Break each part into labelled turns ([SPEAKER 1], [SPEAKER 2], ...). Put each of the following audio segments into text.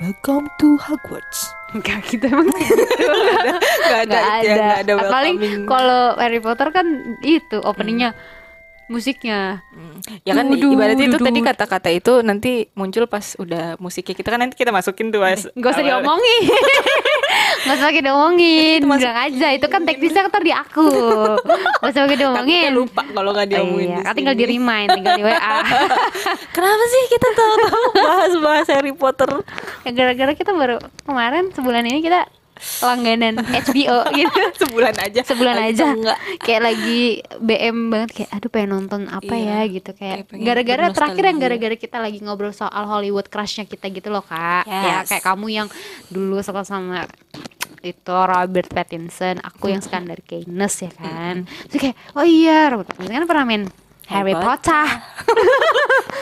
[SPEAKER 1] Welcome to Hogwarts.
[SPEAKER 2] Enggak gitu emang gitu.
[SPEAKER 3] Gak ada,
[SPEAKER 2] Nggak
[SPEAKER 3] itu ya,
[SPEAKER 2] ada. Nah,
[SPEAKER 3] nggak ada welcoming. Hmm.
[SPEAKER 2] Paling kalau Harry Potter kan itu openingnya musiknya.
[SPEAKER 3] ya kan
[SPEAKER 2] Dudu,
[SPEAKER 3] ibaratnya itu
[SPEAKER 2] dudu.
[SPEAKER 3] tadi kata-kata itu nanti muncul pas udah musiknya kita kan nanti kita masukin tuh pas
[SPEAKER 2] Gak usah
[SPEAKER 3] awal.
[SPEAKER 2] diomongin. Gak usah pakai diomongin.
[SPEAKER 3] Itu masuk-
[SPEAKER 2] Bilang aja itu kan teknisnya ntar di aku. Gak usah pakai
[SPEAKER 3] Takutnya
[SPEAKER 2] diomongin.
[SPEAKER 3] lupa kalau nggak diomongin
[SPEAKER 2] iya,
[SPEAKER 3] di
[SPEAKER 2] kan tinggal
[SPEAKER 3] sini.
[SPEAKER 2] di remind, tinggal di WA.
[SPEAKER 3] Kenapa sih kita tahu-tahu bahas-bahas Harry Potter?
[SPEAKER 2] Ya, Gara-gara kita baru kemarin sebulan ini kita langganan HBO gitu.
[SPEAKER 3] Sebulan aja.
[SPEAKER 2] Sebulan
[SPEAKER 3] Atau
[SPEAKER 2] aja.
[SPEAKER 3] Enggak.
[SPEAKER 2] Kayak lagi BM banget kayak aduh pengen nonton apa
[SPEAKER 3] Iya,
[SPEAKER 2] ya gitu kayak
[SPEAKER 3] kayak pengen
[SPEAKER 2] gara-gara terakhir yang
[SPEAKER 3] bernostalgia.
[SPEAKER 2] gara-gara kita lagi ngobrol soal Hollywood crushnya kita gitu loh, Kak. Ya
[SPEAKER 3] Yes.
[SPEAKER 2] kayak kamu yang dulu suka sama itu Robert Pattinson, aku yang sekarang dari Keynes ya kan. Terus kayak oh iya Robert Pattinson kan pernah main
[SPEAKER 3] Harry
[SPEAKER 2] Harry Potter.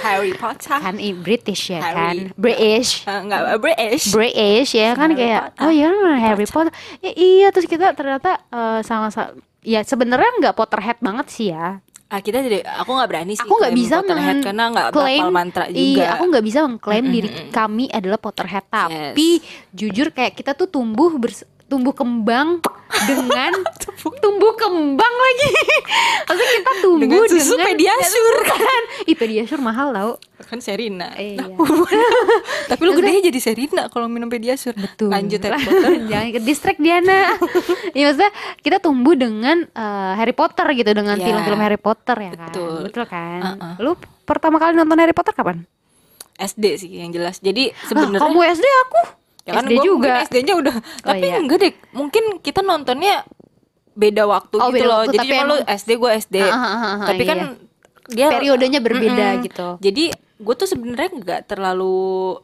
[SPEAKER 3] Harry Potter.
[SPEAKER 2] kan i- British ya kan
[SPEAKER 3] Harry.
[SPEAKER 2] British
[SPEAKER 3] Eh, Enggak, British.
[SPEAKER 2] British ya kan
[SPEAKER 3] Harry
[SPEAKER 2] kayak
[SPEAKER 3] Potter.
[SPEAKER 2] oh iya kan Harry Potter Ya, iya terus kita ternyata eh, sama-sama ya sebenarnya nggak Potterhead banget sih ya
[SPEAKER 3] Ah, kita jadi aku nggak berani sih.
[SPEAKER 2] aku nggak
[SPEAKER 3] klaim
[SPEAKER 2] bisa
[SPEAKER 3] Potterhead
[SPEAKER 2] mengklaim
[SPEAKER 3] karena nggak bakal mantra juga.
[SPEAKER 2] iya aku nggak bisa mengklaim diri kami adalah Potterhead tapi jujur kayak kita tuh tumbuh bers- tumbuh kembang dengan tumbuh kembang lagi maksudnya kita tumbuh
[SPEAKER 3] dengan
[SPEAKER 2] dengan,
[SPEAKER 3] susu pediasur
[SPEAKER 2] kan Ih, Pediasure mahal tau
[SPEAKER 3] kan Serina.
[SPEAKER 2] Iya.
[SPEAKER 3] Tapi lu
[SPEAKER 2] Maksudnya-
[SPEAKER 3] gedenya jadi Serina kalau minum pediasur.
[SPEAKER 2] Tuh.
[SPEAKER 3] Lanjut Harry Potter.
[SPEAKER 2] Jangan ke distract Diana. ya maksudnya kita tumbuh dengan eh, Harry Potter gitu dengan
[SPEAKER 3] Ya.
[SPEAKER 2] film-film Harry Potter ya kan.
[SPEAKER 3] Betul.
[SPEAKER 2] Betul kan?
[SPEAKER 3] Uh-uh.
[SPEAKER 2] Lu pertama kali nonton Harry Potter kapan?
[SPEAKER 3] SD sih yang jelas. Jadi
[SPEAKER 2] Lah,
[SPEAKER 3] sebenarnya
[SPEAKER 2] kamu SD aku.
[SPEAKER 3] ya kan
[SPEAKER 2] SD
[SPEAKER 3] gua
[SPEAKER 2] juga.
[SPEAKER 3] mungkin SD-nya udah tapi
[SPEAKER 2] iya.
[SPEAKER 3] enggak deh mungkin kita nontonnya beda waktu
[SPEAKER 2] Oh,
[SPEAKER 3] gitu
[SPEAKER 2] beda
[SPEAKER 3] loh
[SPEAKER 2] waktu,
[SPEAKER 3] jadi
[SPEAKER 2] tapi
[SPEAKER 3] cuma lu
[SPEAKER 2] emang-
[SPEAKER 3] SD gue SD
[SPEAKER 2] Ah, ah, ah, ah,
[SPEAKER 3] tapi kan
[SPEAKER 2] iya.
[SPEAKER 3] dia
[SPEAKER 2] Periodenya berbeda gitu.
[SPEAKER 3] jadi gue tuh sebenarnya nggak terlalu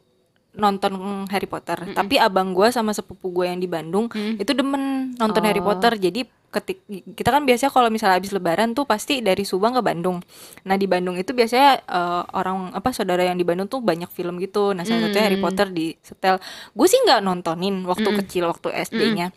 [SPEAKER 3] nonton Harry Potter tapi abang gue sama sepupu gue yang di Bandung itu demen nonton Harry Potter jadi ketik kita kan biasanya kalau misalnya habis lebaran tuh pasti dari Subang ke Bandung. Nah, di Bandung itu biasanya eh, orang apa saudara yang di Bandung tuh banyak film gitu. Nah, salah satunya Harry Potter di setel. Gue sih nggak nontonin waktu kecil waktu SD-nya.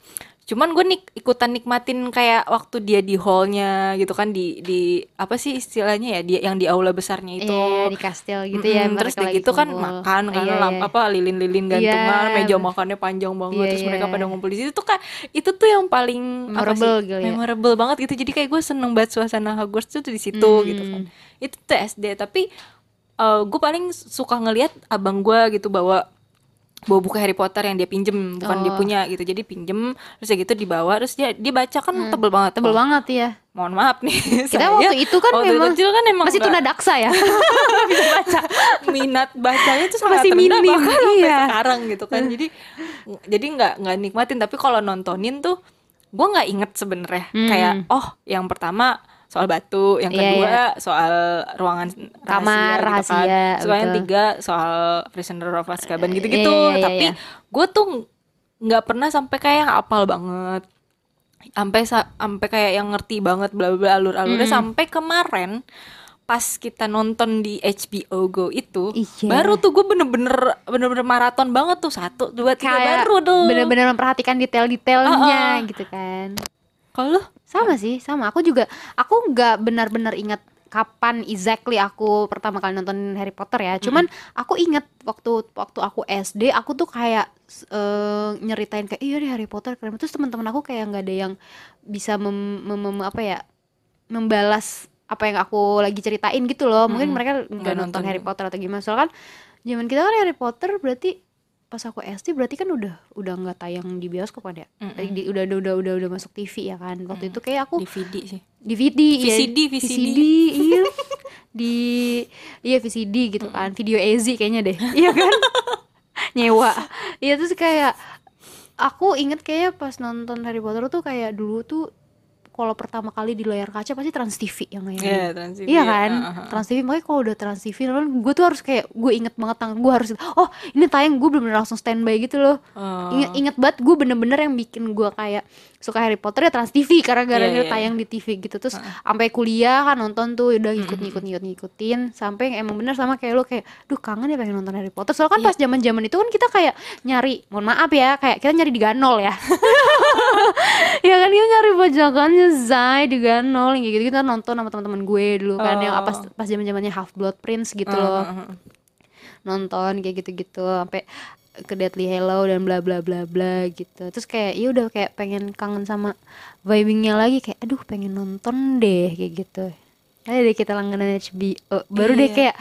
[SPEAKER 3] Cuman gue nik ikutan nikmatin kayak waktu dia di hallnya gitu kan di di apa sih istilahnya ya dia yang di aula besarnya itu.
[SPEAKER 2] Iya, di kastil gitu
[SPEAKER 3] gitu.
[SPEAKER 2] ya.
[SPEAKER 3] Mm-mm, terus
[SPEAKER 2] mereka
[SPEAKER 3] udah
[SPEAKER 2] lagi
[SPEAKER 3] gitu kan
[SPEAKER 2] kumpul.
[SPEAKER 3] makan kan
[SPEAKER 2] Iya,
[SPEAKER 3] lam-
[SPEAKER 2] iya.
[SPEAKER 3] apa lilin-lilin gantungan
[SPEAKER 2] Iya,
[SPEAKER 3] meja
[SPEAKER 2] bener.
[SPEAKER 3] makannya panjang banget
[SPEAKER 2] Iya,
[SPEAKER 3] terus mereka
[SPEAKER 2] iya.
[SPEAKER 3] pada ngumpul di situ tuh kayak itu tuh yang paling apa sih,
[SPEAKER 2] Memorable gitu ya.
[SPEAKER 3] memorable banget gitu jadi kayak gue seneng banget suasana Hogwarts tuh di situ
[SPEAKER 2] Hmm.
[SPEAKER 3] gitu kan itu tuh SD tapi eh, gue paling suka ngelihat abang gue gitu bawa bawa buku Harry Potter yang dia pinjem bukan dia
[SPEAKER 2] Oh.
[SPEAKER 3] punya gitu jadi pinjem terus ya gitu dibawa terus dia dia baca kan tebel banget
[SPEAKER 2] Hmm. Tebel
[SPEAKER 3] Oh,
[SPEAKER 2] banget ya.
[SPEAKER 3] mohon maaf nih
[SPEAKER 2] Kita
[SPEAKER 3] saya
[SPEAKER 2] waktu itu kan
[SPEAKER 3] waktu
[SPEAKER 2] memang
[SPEAKER 3] kecil kan emang
[SPEAKER 2] masih
[SPEAKER 3] nggak-
[SPEAKER 2] tuna daksa ya.
[SPEAKER 3] minat bacanya tuh sangat
[SPEAKER 2] Masih
[SPEAKER 3] rendah
[SPEAKER 2] minim,
[SPEAKER 3] bahkan sampai
[SPEAKER 2] iya.
[SPEAKER 3] sekarang gitu kan jadi jadi nggak nggak nikmatin tapi kalau nontonin tuh gue nggak inget sebenarnya
[SPEAKER 2] Hmm.
[SPEAKER 3] kayak oh yang pertama soal batu yang
[SPEAKER 2] Iya,
[SPEAKER 3] kedua soal ruangan rahasia,
[SPEAKER 2] Kamar,
[SPEAKER 3] gitu kan.
[SPEAKER 2] rahasia,
[SPEAKER 3] soal yang
[SPEAKER 2] betul.
[SPEAKER 3] tiga soal prisoner of Azkaban gitu-gitu
[SPEAKER 2] Iya, iya, iya,
[SPEAKER 3] tapi
[SPEAKER 2] iya.
[SPEAKER 3] gue tuh nggak pernah sampai kayak yang apal banget sampai sa- sampai kayak yang ngerti banget bla bla bla alur-alurnya
[SPEAKER 2] Hmm.
[SPEAKER 3] sampai kemarin pas kita nonton di HBO Go itu
[SPEAKER 2] Iya.
[SPEAKER 3] baru tuh gue bener-bener bener-bener maraton banget tuh satu dua tiga
[SPEAKER 2] Kayak
[SPEAKER 3] baru tuh
[SPEAKER 2] bener-bener memperhatikan detail-detailnya gitu kan.
[SPEAKER 3] kalau lu?
[SPEAKER 2] sama sih sama aku juga aku nggak benar-benar ingat kapan exactly aku pertama kali nonton Harry Potter ya cuman aku ingat waktu waktu aku SD aku tuh kayak s- eh, nyeritain kayak iya deh Harry Potter keren banget." terus teman-teman aku kayak nggak ada yang bisa mem, mem- mem- apa ya membalas apa yang aku lagi ceritain gitu loh mungkin
[SPEAKER 3] Mm-mm.
[SPEAKER 2] mereka nggak
[SPEAKER 3] Nggak
[SPEAKER 2] nonton
[SPEAKER 3] nonton.
[SPEAKER 2] Harry Potter atau gimana soalnya kan zaman kita kan Harry Potter berarti pas aku SD berarti kan udah udah nggak tayang di bioskop kan ya
[SPEAKER 3] Mm-mm.
[SPEAKER 2] di, udah, udah udah udah udah masuk TV ya kan waktu itu kayak aku
[SPEAKER 3] DVD sih
[SPEAKER 2] DVD ya.
[SPEAKER 3] VCD, VCD.
[SPEAKER 2] iya di iya VCD gitu kan video AZ kayaknya deh iya kan nyewa iya terus kayak aku inget kayaknya pas nonton Harry Potter tuh kayak dulu tuh kalau pertama kali di layar kaca pasti Trans TV yang
[SPEAKER 3] Iya,
[SPEAKER 2] ngayangin
[SPEAKER 3] Trans TV,
[SPEAKER 2] Iya kan,
[SPEAKER 3] ah, ah, ah.
[SPEAKER 2] Trans TV makanya kalau udah Trans TV, gue tuh harus kayak gue inget banget tangan gue harus, oh ini tayang gue bener-bener langsung standby gitu loh.
[SPEAKER 3] Oh.
[SPEAKER 2] Ingat inget banget gue bener-bener yang bikin gue kayak suka Harry Potter ya Trans TV karena
[SPEAKER 3] Iya,
[SPEAKER 2] gara-gara
[SPEAKER 3] iya,
[SPEAKER 2] tayang di TV gitu terus sampai kuliah kan nonton tuh udah ngikut-ngikut ngikut ngikutin sampai yang emang bener sama kayak lo kayak duh kangen ya pengen nonton Harry Potter
[SPEAKER 3] Iya.
[SPEAKER 2] soalnya kan pas zaman-zaman itu kan kita kayak nyari mohon maaf ya kayak kita nyari di Ganol ya ya kan dia nyari bajakannya Zai di Ganol kayak gitu kita nonton sama teman-teman gue dulu kan yang
[SPEAKER 3] Oh.
[SPEAKER 2] apa pas zaman-zamannya Half Blood Prince gitu
[SPEAKER 3] Ah,
[SPEAKER 2] loh
[SPEAKER 3] ah, ah.
[SPEAKER 2] nonton kayak gitu-gitu sampai ke Deadly Hallow dan bla bla bla bla gitu terus kayak ya udah kayak pengen kangen sama vibingnya lagi kayak aduh pengen nonton deh kayak gitu ada deh kita langganan HBO baru deh
[SPEAKER 3] Iya.
[SPEAKER 2] kayak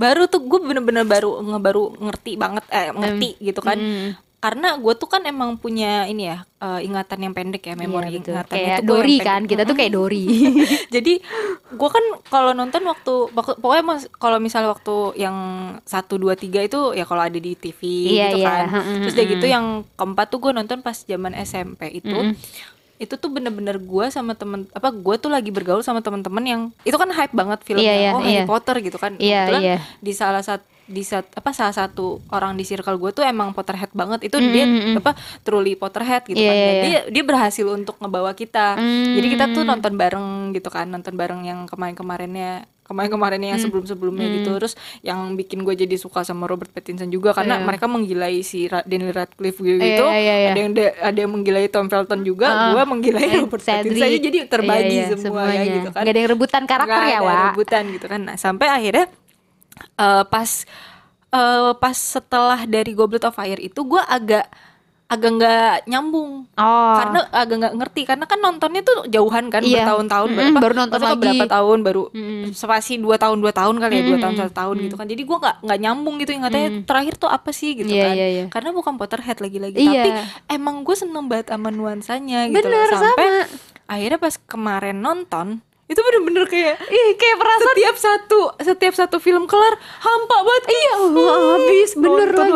[SPEAKER 3] baru tuh gue bener-bener baru ngebaru ngerti banget eh ngerti gitu kan
[SPEAKER 2] mm,
[SPEAKER 3] karena gue tuh kan emang punya ini ya eh, ingatan yang pendek ya memori
[SPEAKER 2] iya, betul.
[SPEAKER 3] ingatan itu
[SPEAKER 2] kayak
[SPEAKER 3] gua yang
[SPEAKER 2] Dori
[SPEAKER 3] pendek.
[SPEAKER 2] kan kita tuh kayak Dori
[SPEAKER 3] jadi gue kan kalau nonton waktu pokok- pokoknya mas- kalau misalnya waktu yang satu dua tiga itu ya kalau ada di TV
[SPEAKER 2] Iya,
[SPEAKER 3] gitu
[SPEAKER 2] iya.
[SPEAKER 3] kan
[SPEAKER 2] Mm,
[SPEAKER 3] terus
[SPEAKER 2] mm,
[SPEAKER 3] udah
[SPEAKER 2] mm.
[SPEAKER 3] gitu yang keempat tuh gue nonton pas zaman SMP itu
[SPEAKER 2] Mm, mm.
[SPEAKER 3] itu tuh bener-bener gue sama temen apa gue tuh lagi bergaul sama temen-temen yang itu kan hype banget filmnya
[SPEAKER 2] Iya, iya,
[SPEAKER 3] oh Harry
[SPEAKER 2] iya.
[SPEAKER 3] Potter gitu kan
[SPEAKER 2] Iya,
[SPEAKER 3] Kebetulan
[SPEAKER 2] iya.
[SPEAKER 3] di salah satu di sat- apa salah satu orang di circle gue tuh emang Potterhead banget itu
[SPEAKER 2] Mm,
[SPEAKER 3] dia
[SPEAKER 2] mm, mm.
[SPEAKER 3] apa truly Potterhead gitu
[SPEAKER 2] Iya,
[SPEAKER 3] kan
[SPEAKER 2] iya,
[SPEAKER 3] Dan
[SPEAKER 2] iya.
[SPEAKER 3] dia dia berhasil untuk ngebawa kita
[SPEAKER 2] Mm.
[SPEAKER 3] jadi kita tuh nonton bareng gitu kan nonton bareng yang kemarin-kemarinnya kemarin-kemarinnya
[SPEAKER 2] Mm.
[SPEAKER 3] yang sebelum-sebelumnya gitu terus yang bikin gue jadi suka sama Robert Pattinson juga karena
[SPEAKER 2] Iya.
[SPEAKER 3] mereka menggilai si Ra- Daniel Radcliffe gitu
[SPEAKER 2] Iya, iya, iya.
[SPEAKER 3] ada yang da- ada yang menggilai Tom Felton juga
[SPEAKER 2] Ah.
[SPEAKER 3] gue menggilai
[SPEAKER 2] Eh,
[SPEAKER 3] Robert
[SPEAKER 2] Cedric.
[SPEAKER 3] Pattinson jadi terbagi
[SPEAKER 2] Iya, iya,
[SPEAKER 3] semua ya
[SPEAKER 2] semuanya.
[SPEAKER 3] gitu kan
[SPEAKER 2] Nggak ada yang rebutan karakter
[SPEAKER 3] Nggak
[SPEAKER 2] ya,
[SPEAKER 3] ada
[SPEAKER 2] Wak?
[SPEAKER 3] rebutan gitu kan nah sampai akhirnya eh, pas eh, pas setelah dari Goblet of Fire itu gue agak agak nggak nyambung
[SPEAKER 2] oh
[SPEAKER 3] karena agak nggak ngerti karena kan nontonnya tuh jauhan kan
[SPEAKER 2] Iya.
[SPEAKER 3] bertahun-tahun
[SPEAKER 2] Mm-mm,
[SPEAKER 3] berapa
[SPEAKER 2] baru nonton
[SPEAKER 3] maksudnya
[SPEAKER 2] lagi. Mm.
[SPEAKER 3] berapa tahun baru
[SPEAKER 2] Mm-mm.
[SPEAKER 3] spasi dua tahun dua tahun kali ya dua
[SPEAKER 2] Mm-mm.
[SPEAKER 3] tahun satu tahun gitu kan jadi gua nggak nggak nyambung gitu ingatnya
[SPEAKER 2] Mm.
[SPEAKER 3] terakhir tuh apa sih gitu
[SPEAKER 2] Iya,
[SPEAKER 3] kan
[SPEAKER 2] iya, iya.
[SPEAKER 3] karena bukan Potterhead lagi-lagi
[SPEAKER 2] Iya.
[SPEAKER 3] tapi emang gue seneng banget sama nuansanya gitu loh.
[SPEAKER 2] Bener,
[SPEAKER 3] sampai
[SPEAKER 2] sama.
[SPEAKER 3] akhirnya pas kemarin nonton itu bener-bener kayak
[SPEAKER 2] ih kayak perasaan
[SPEAKER 3] setiap satu setiap satu film kelar hampa banget iya
[SPEAKER 2] habis, bener lagi, nonton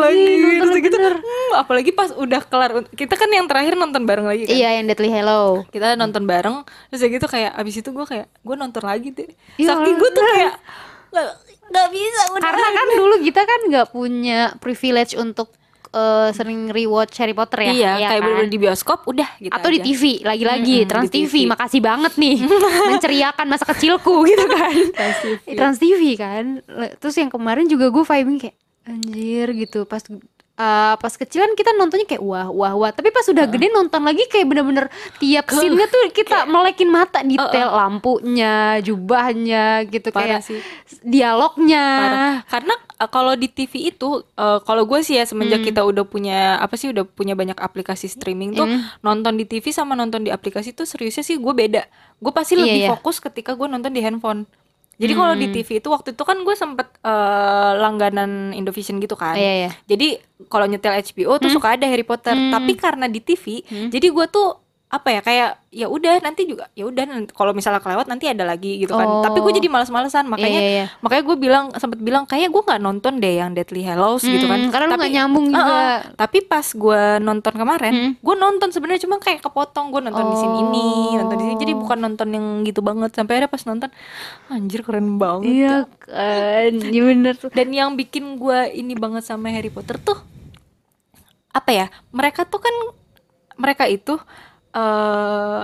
[SPEAKER 3] terus
[SPEAKER 2] lagi,
[SPEAKER 3] gitu
[SPEAKER 2] bener.
[SPEAKER 3] hmm, apalagi pas udah kelar kita kan yang terakhir nonton bareng lagi kan
[SPEAKER 2] iya yang Deadly Hallow
[SPEAKER 3] kita nonton bareng terus ya gitu kayak abis itu gue kayak gue nonton lagi deh
[SPEAKER 2] Iya,
[SPEAKER 3] saking gue tuh kayak nggak nggak bisa udah
[SPEAKER 2] karena kan dulu kita kan nggak punya privilege untuk eh, sering rewatch Harry Potter ya
[SPEAKER 3] iya
[SPEAKER 2] ya
[SPEAKER 3] kayak
[SPEAKER 2] kan?
[SPEAKER 3] bener-bener di bioskop udah gitu
[SPEAKER 2] atau di
[SPEAKER 3] aja.
[SPEAKER 2] TV lagi-lagi
[SPEAKER 3] Mm-mm,
[SPEAKER 2] Trans
[SPEAKER 3] di
[SPEAKER 2] TV.
[SPEAKER 3] TV.
[SPEAKER 2] makasih banget nih menceriakan masa kecilku gitu
[SPEAKER 3] Iya.
[SPEAKER 2] kan
[SPEAKER 3] Trans TV.
[SPEAKER 2] Eh, Trans TV kan Le- terus yang kemarin juga gue vibing kayak anjir gitu pas eh, pas kecilan kita nontonnya kayak wah wah wah tapi pas udah gede nonton lagi kayak bener-bener tiap scene-nya tuh kita melekin mata detail lampunya jubahnya gitu
[SPEAKER 3] Parah
[SPEAKER 2] kayak
[SPEAKER 3] sih.
[SPEAKER 2] dialognya
[SPEAKER 3] Parah. karena eh, kalau di TV itu eh, kalau gue sih ya semenjak
[SPEAKER 2] Hmm.
[SPEAKER 3] kita udah punya apa sih udah punya banyak aplikasi streaming
[SPEAKER 2] Hmm.
[SPEAKER 3] tuh
[SPEAKER 2] Mm.
[SPEAKER 3] nonton di TV sama nonton di aplikasi tuh seriusnya sih gue beda gue pasti
[SPEAKER 2] Iya,
[SPEAKER 3] lebih
[SPEAKER 2] iya. Hmm.
[SPEAKER 3] fokus ketika gue nonton di handphone jadi kalau di TV itu waktu itu kan gue sempet eh, langganan Indovision gitu kan
[SPEAKER 2] Iya, Hmm. iya.
[SPEAKER 3] jadi kalau nyetel HBO tuh suka ada Harry Potter tapi karena di TV
[SPEAKER 2] Hmm.
[SPEAKER 3] jadi gue tuh apa ya kayak ya udah nanti juga ya udah nanti- kalau misalnya kelewat nanti ada lagi gitu kan
[SPEAKER 2] Oh.
[SPEAKER 3] tapi gue jadi males-malesan makanya
[SPEAKER 2] Iya, iya, iya.
[SPEAKER 3] makanya gue bilang sempet bilang kayaknya gue nggak nonton deh yang Deadly Hallows gitu kan
[SPEAKER 2] Mm, karena lu
[SPEAKER 3] Tapi-
[SPEAKER 2] nggak nyambung
[SPEAKER 3] Uh-uh.
[SPEAKER 2] juga.
[SPEAKER 3] tapi pas gue nonton kemarin
[SPEAKER 2] Mm.
[SPEAKER 3] gue nonton sebenarnya cuma kayak kepotong gue nonton di sini ini nonton di sini jadi
[SPEAKER 2] Oh.
[SPEAKER 3] bukan nonton yang gitu banget sampai ada pas nonton anjir keren banget
[SPEAKER 2] iya kan iya bener tuh
[SPEAKER 3] dan yang bikin gue ini banget sama Harry Potter tuh apa ya mereka tuh kan mereka itu eh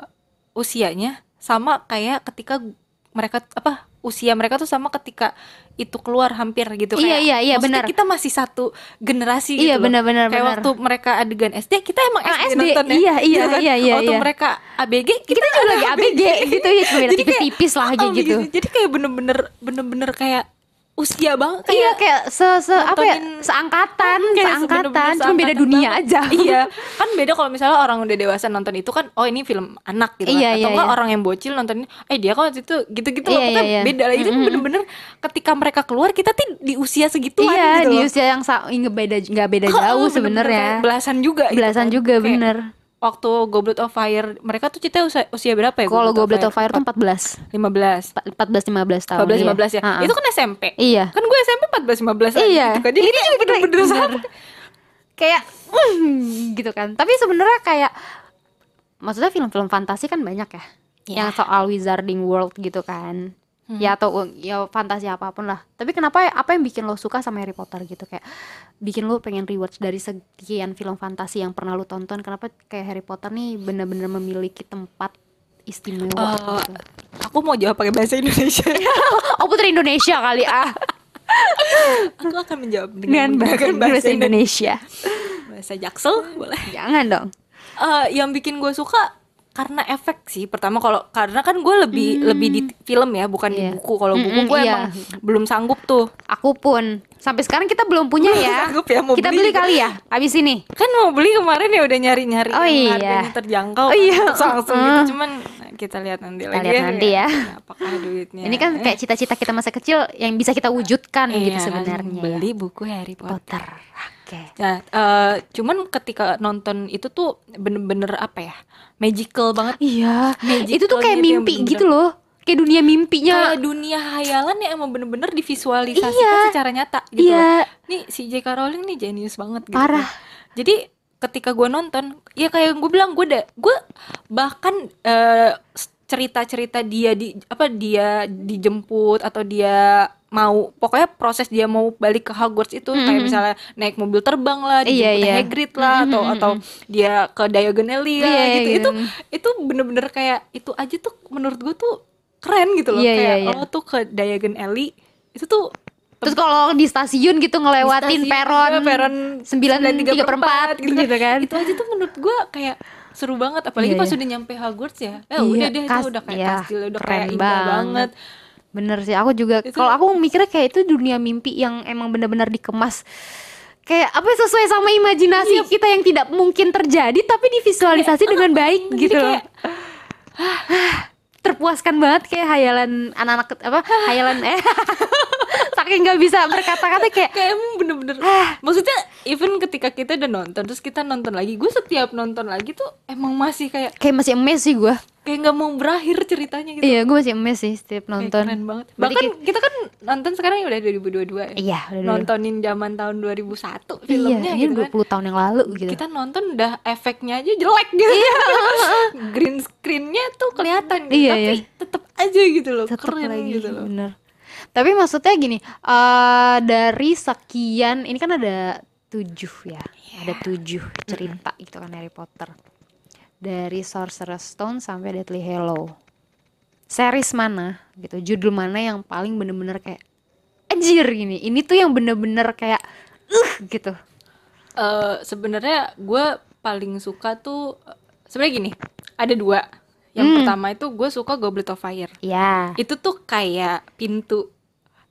[SPEAKER 3] usianya sama kayak ketika mereka apa usia mereka tuh sama ketika itu keluar hampir gitu kayak
[SPEAKER 2] Iya, iya, iya,
[SPEAKER 3] maksudnya
[SPEAKER 2] benar.
[SPEAKER 3] kita masih satu generasi
[SPEAKER 2] Iya,
[SPEAKER 3] gitu loh.
[SPEAKER 2] benar, benar,
[SPEAKER 3] kayak
[SPEAKER 2] benar.
[SPEAKER 3] waktu mereka adegan SD kita emang
[SPEAKER 2] Ah,
[SPEAKER 3] SD,
[SPEAKER 2] SD,
[SPEAKER 3] nontonnya
[SPEAKER 2] iya, iya,
[SPEAKER 3] gitu kan.
[SPEAKER 2] iya, iya,
[SPEAKER 3] waktu
[SPEAKER 2] iya.
[SPEAKER 3] mereka ABG kita,
[SPEAKER 2] kita juga lagi ABG gitu ya cuma beda
[SPEAKER 3] Jadi kayak-
[SPEAKER 2] tipis-tipis lah kayak
[SPEAKER 3] Oh,
[SPEAKER 2] gitu
[SPEAKER 3] begini. jadi kayak bener-bener bener-bener kayak usia banget kayak
[SPEAKER 2] iya kayak se se apa ya
[SPEAKER 3] nontonin-
[SPEAKER 2] seangkatan
[SPEAKER 3] Kayak
[SPEAKER 2] seangkatan
[SPEAKER 3] bener-bener
[SPEAKER 2] cuma beda
[SPEAKER 3] seangkatan
[SPEAKER 2] dunia
[SPEAKER 3] banget.
[SPEAKER 2] aja
[SPEAKER 3] iya kan beda kalau misalnya orang udah dewasa nonton itu kan oh ini film anak gitu kan.
[SPEAKER 2] Iya,
[SPEAKER 3] atau
[SPEAKER 2] iya,
[SPEAKER 3] enggak
[SPEAKER 2] iya.
[SPEAKER 3] orang yang bocil nonton eh dia kan waktu itu gitu-gitu
[SPEAKER 2] Iya,
[SPEAKER 3] loh Pokoknya
[SPEAKER 2] iya, iya.
[SPEAKER 3] beda lagi itu
[SPEAKER 2] Mm-mm.
[SPEAKER 3] bener-bener ketika mereka keluar kita tuh di usia segituan
[SPEAKER 2] iya
[SPEAKER 3] gitu
[SPEAKER 2] di
[SPEAKER 3] loh.
[SPEAKER 2] usia yang sa- nggak beda nggak beda
[SPEAKER 3] Oh,
[SPEAKER 2] jauh
[SPEAKER 3] bener-bener kayak
[SPEAKER 2] sebenarnya
[SPEAKER 3] belasan juga gitu
[SPEAKER 2] belasan
[SPEAKER 3] kan.
[SPEAKER 2] juga
[SPEAKER 3] Kayak
[SPEAKER 2] bener
[SPEAKER 3] waktu Goblet of Fire mereka tuh cerita usia, usia berapa ya
[SPEAKER 2] kalau Goblet of Fire tuh 14
[SPEAKER 3] 15
[SPEAKER 2] 14 15 tahun
[SPEAKER 3] 14
[SPEAKER 2] iya.
[SPEAKER 3] 15 ya
[SPEAKER 2] Ah, ah.
[SPEAKER 3] itu kan SMP
[SPEAKER 2] Iya.
[SPEAKER 3] kan gue SMP 14 15 aja
[SPEAKER 2] Iya.
[SPEAKER 3] gitu kan. jadi
[SPEAKER 2] Ini
[SPEAKER 3] kayak
[SPEAKER 2] juga
[SPEAKER 3] bener-bener
[SPEAKER 2] bener.
[SPEAKER 3] sama.
[SPEAKER 2] kayak "Mm," gitu kan tapi sebenarnya kayak maksudnya film-film fantasi kan banyak ya yang soal wizarding world gitu kan ya atau ya fantasi apapun lah tapi kenapa ya, apa yang bikin lo suka sama Harry Potter gitu kayak bikin lo pengen rewatch dari sekian film fantasi yang pernah lo tonton kenapa kayak Harry Potter nih bener-bener memiliki tempat istimewa
[SPEAKER 3] Eh,
[SPEAKER 2] gitu.
[SPEAKER 3] aku mau jawab pakai bahasa Indonesia.
[SPEAKER 2] oh putri Indonesia kali ah
[SPEAKER 3] aku akan menjawab dengan,
[SPEAKER 2] dengan bahasa,
[SPEAKER 3] menggunakan
[SPEAKER 2] bahasa Indonesia
[SPEAKER 3] Bahasa Jaksel boleh.
[SPEAKER 2] jangan dong
[SPEAKER 3] Eh, yang bikin gue suka karena efek sih pertama kalau karena kan gue lebih lebih di t- film ya bukan
[SPEAKER 2] Hmm. Iya.
[SPEAKER 3] di buku kalau buku
[SPEAKER 2] Mm-mm,
[SPEAKER 3] gue
[SPEAKER 2] iya.
[SPEAKER 3] emang belum sanggup tuh
[SPEAKER 2] Aku pun sampai sekarang kita belum punya ya.
[SPEAKER 3] sanggup ya mau
[SPEAKER 2] Kita
[SPEAKER 3] beli
[SPEAKER 2] beli kali ya abis ini.
[SPEAKER 3] kan mau beli kemarin ya udah nyari nyari
[SPEAKER 2] Oh, iya.
[SPEAKER 3] harganya terjangkau
[SPEAKER 2] Oh, iya.
[SPEAKER 3] terus langsung
[SPEAKER 2] Mm.
[SPEAKER 3] gitu cuman kita lihat nanti
[SPEAKER 2] Kita
[SPEAKER 3] lagi Iya,
[SPEAKER 2] lihat nanti ya.
[SPEAKER 3] apakah duitnya
[SPEAKER 2] Ini kan kayak cita-cita kita masa kecil yang bisa kita wujudkan
[SPEAKER 3] Iya
[SPEAKER 2] gitu
[SPEAKER 3] kan,
[SPEAKER 2] sebenarnya. Oh,
[SPEAKER 3] beli buku Harry Potter
[SPEAKER 2] Potter. Oke.
[SPEAKER 3] Nah, eh, cuman ketika nonton itu tuh bener-bener apa ya, magical banget.
[SPEAKER 2] Iya. Itu tuh
[SPEAKER 3] Magicalnya yang
[SPEAKER 2] kayak mimpi
[SPEAKER 3] bener-bener-
[SPEAKER 2] gitu loh. Kayak dunia mimpinya.
[SPEAKER 3] Kayak dunia hayalan yang emang bener-bener divisualisasikan
[SPEAKER 2] Iya.
[SPEAKER 3] secara nyata gitu. loh.
[SPEAKER 2] Iya.
[SPEAKER 3] Nih si J.K. Rowling nih jenius banget gitu.
[SPEAKER 2] Parah.
[SPEAKER 3] Jadi ketika gue nonton, ya kayak gue bilang gue da, gue bahkan eh, s- cerita-cerita dia di apa dia dijemput atau dia mau pokoknya proses dia mau balik ke Hogwarts itu kayak
[SPEAKER 2] Mm-mm.
[SPEAKER 3] misalnya naik mobil terbang lah, dijemput
[SPEAKER 2] Hmm, Iya, iya.
[SPEAKER 3] Hagrid lah atau
[SPEAKER 2] Mm-mm,
[SPEAKER 3] atau dia ke Diagon Alley lah
[SPEAKER 2] hmm. Iya,
[SPEAKER 3] gitu.
[SPEAKER 2] iya.
[SPEAKER 3] Itu itu bener-bener kayak itu aja tuh menurut gue tuh keren gitu loh
[SPEAKER 2] Iya,
[SPEAKER 3] kayak
[SPEAKER 2] iya, iya.
[SPEAKER 3] lo tuh ke Diagon Alley itu tuh
[SPEAKER 2] Terus kalau di stasiun gitu ngelewatin
[SPEAKER 3] Stasiun,
[SPEAKER 2] peron,
[SPEAKER 3] iya, peron
[SPEAKER 2] sembilan tiga per empat gitu, kan.
[SPEAKER 3] itu aja tuh menurut gua kayak seru banget apalagi
[SPEAKER 2] Iya,
[SPEAKER 3] pas
[SPEAKER 2] iya.
[SPEAKER 3] udah nyampe Hogwarts ya eh
[SPEAKER 2] Iya,
[SPEAKER 3] udah deh
[SPEAKER 2] kas-
[SPEAKER 3] itu udah kayak
[SPEAKER 2] iya,
[SPEAKER 3] kastil udah
[SPEAKER 2] keren
[SPEAKER 3] kayak indah
[SPEAKER 2] banget.
[SPEAKER 3] banget,
[SPEAKER 2] Bener sih, aku juga.
[SPEAKER 3] Itu-
[SPEAKER 2] Kalau aku mikirnya kayak itu dunia mimpi yang emang benar-benar dikemas kayak apa ya, sesuai sama imajinasi
[SPEAKER 3] Iya.
[SPEAKER 2] kita yang tidak mungkin terjadi tapi divisualisasi dengan
[SPEAKER 3] Eh,
[SPEAKER 2] baik
[SPEAKER 3] Jadi
[SPEAKER 2] gitu. loh. Ah,
[SPEAKER 3] kayak, ah,
[SPEAKER 2] Terpuaskan banget kayak hayalan anak-anak ke- apa
[SPEAKER 3] Ah.
[SPEAKER 2] hayalan eh saking nggak bisa berkata-kata kayak
[SPEAKER 3] kayak emang bener-bener maksudnya even ketika kita udah nonton terus kita nonton lagi gue setiap nonton lagi tuh emang masih kayak
[SPEAKER 2] kayak masih emes sih gue.
[SPEAKER 3] kayak nggak mau berakhir ceritanya gitu
[SPEAKER 2] Iya, gue masih emes sih setiap
[SPEAKER 3] Kayak
[SPEAKER 2] nonton.
[SPEAKER 3] keren banget
[SPEAKER 2] Berarti
[SPEAKER 3] bahkan
[SPEAKER 2] kita-
[SPEAKER 3] kita kan nonton sekarang ya udah 2022 ya
[SPEAKER 2] Iya, udah dulu.
[SPEAKER 3] nontonin zaman tahun 2001
[SPEAKER 2] Iya,
[SPEAKER 3] filmnya
[SPEAKER 2] ini
[SPEAKER 3] gitu kan
[SPEAKER 2] 20 tahun yang lalu gitu.
[SPEAKER 3] kita nonton udah efeknya aja jelek gitu green screennya tuh kelihatan gitu
[SPEAKER 2] Iya,
[SPEAKER 3] tapi
[SPEAKER 2] iya.
[SPEAKER 3] tetep aja gitu loh
[SPEAKER 2] tetep
[SPEAKER 3] keren
[SPEAKER 2] lagi
[SPEAKER 3] gitu loh
[SPEAKER 2] bener tapi maksudnya gini eh dari sekian ini kan ada tujuh ya ada
[SPEAKER 3] Iya.
[SPEAKER 2] tujuh cerita gitu kan Harry Potter dari Sorcerer's Stone sampai Deathly Hallow series mana gitu judul mana yang paling bener-bener kayak anjir gini ini tuh yang bener-bener kayak uh gitu
[SPEAKER 3] Eh, sebenarnya gue paling suka tuh sebenarnya gini ada dua yang
[SPEAKER 2] Hmm.
[SPEAKER 3] pertama itu gue suka Goblet of Fire
[SPEAKER 2] ya
[SPEAKER 3] itu tuh kayak pintu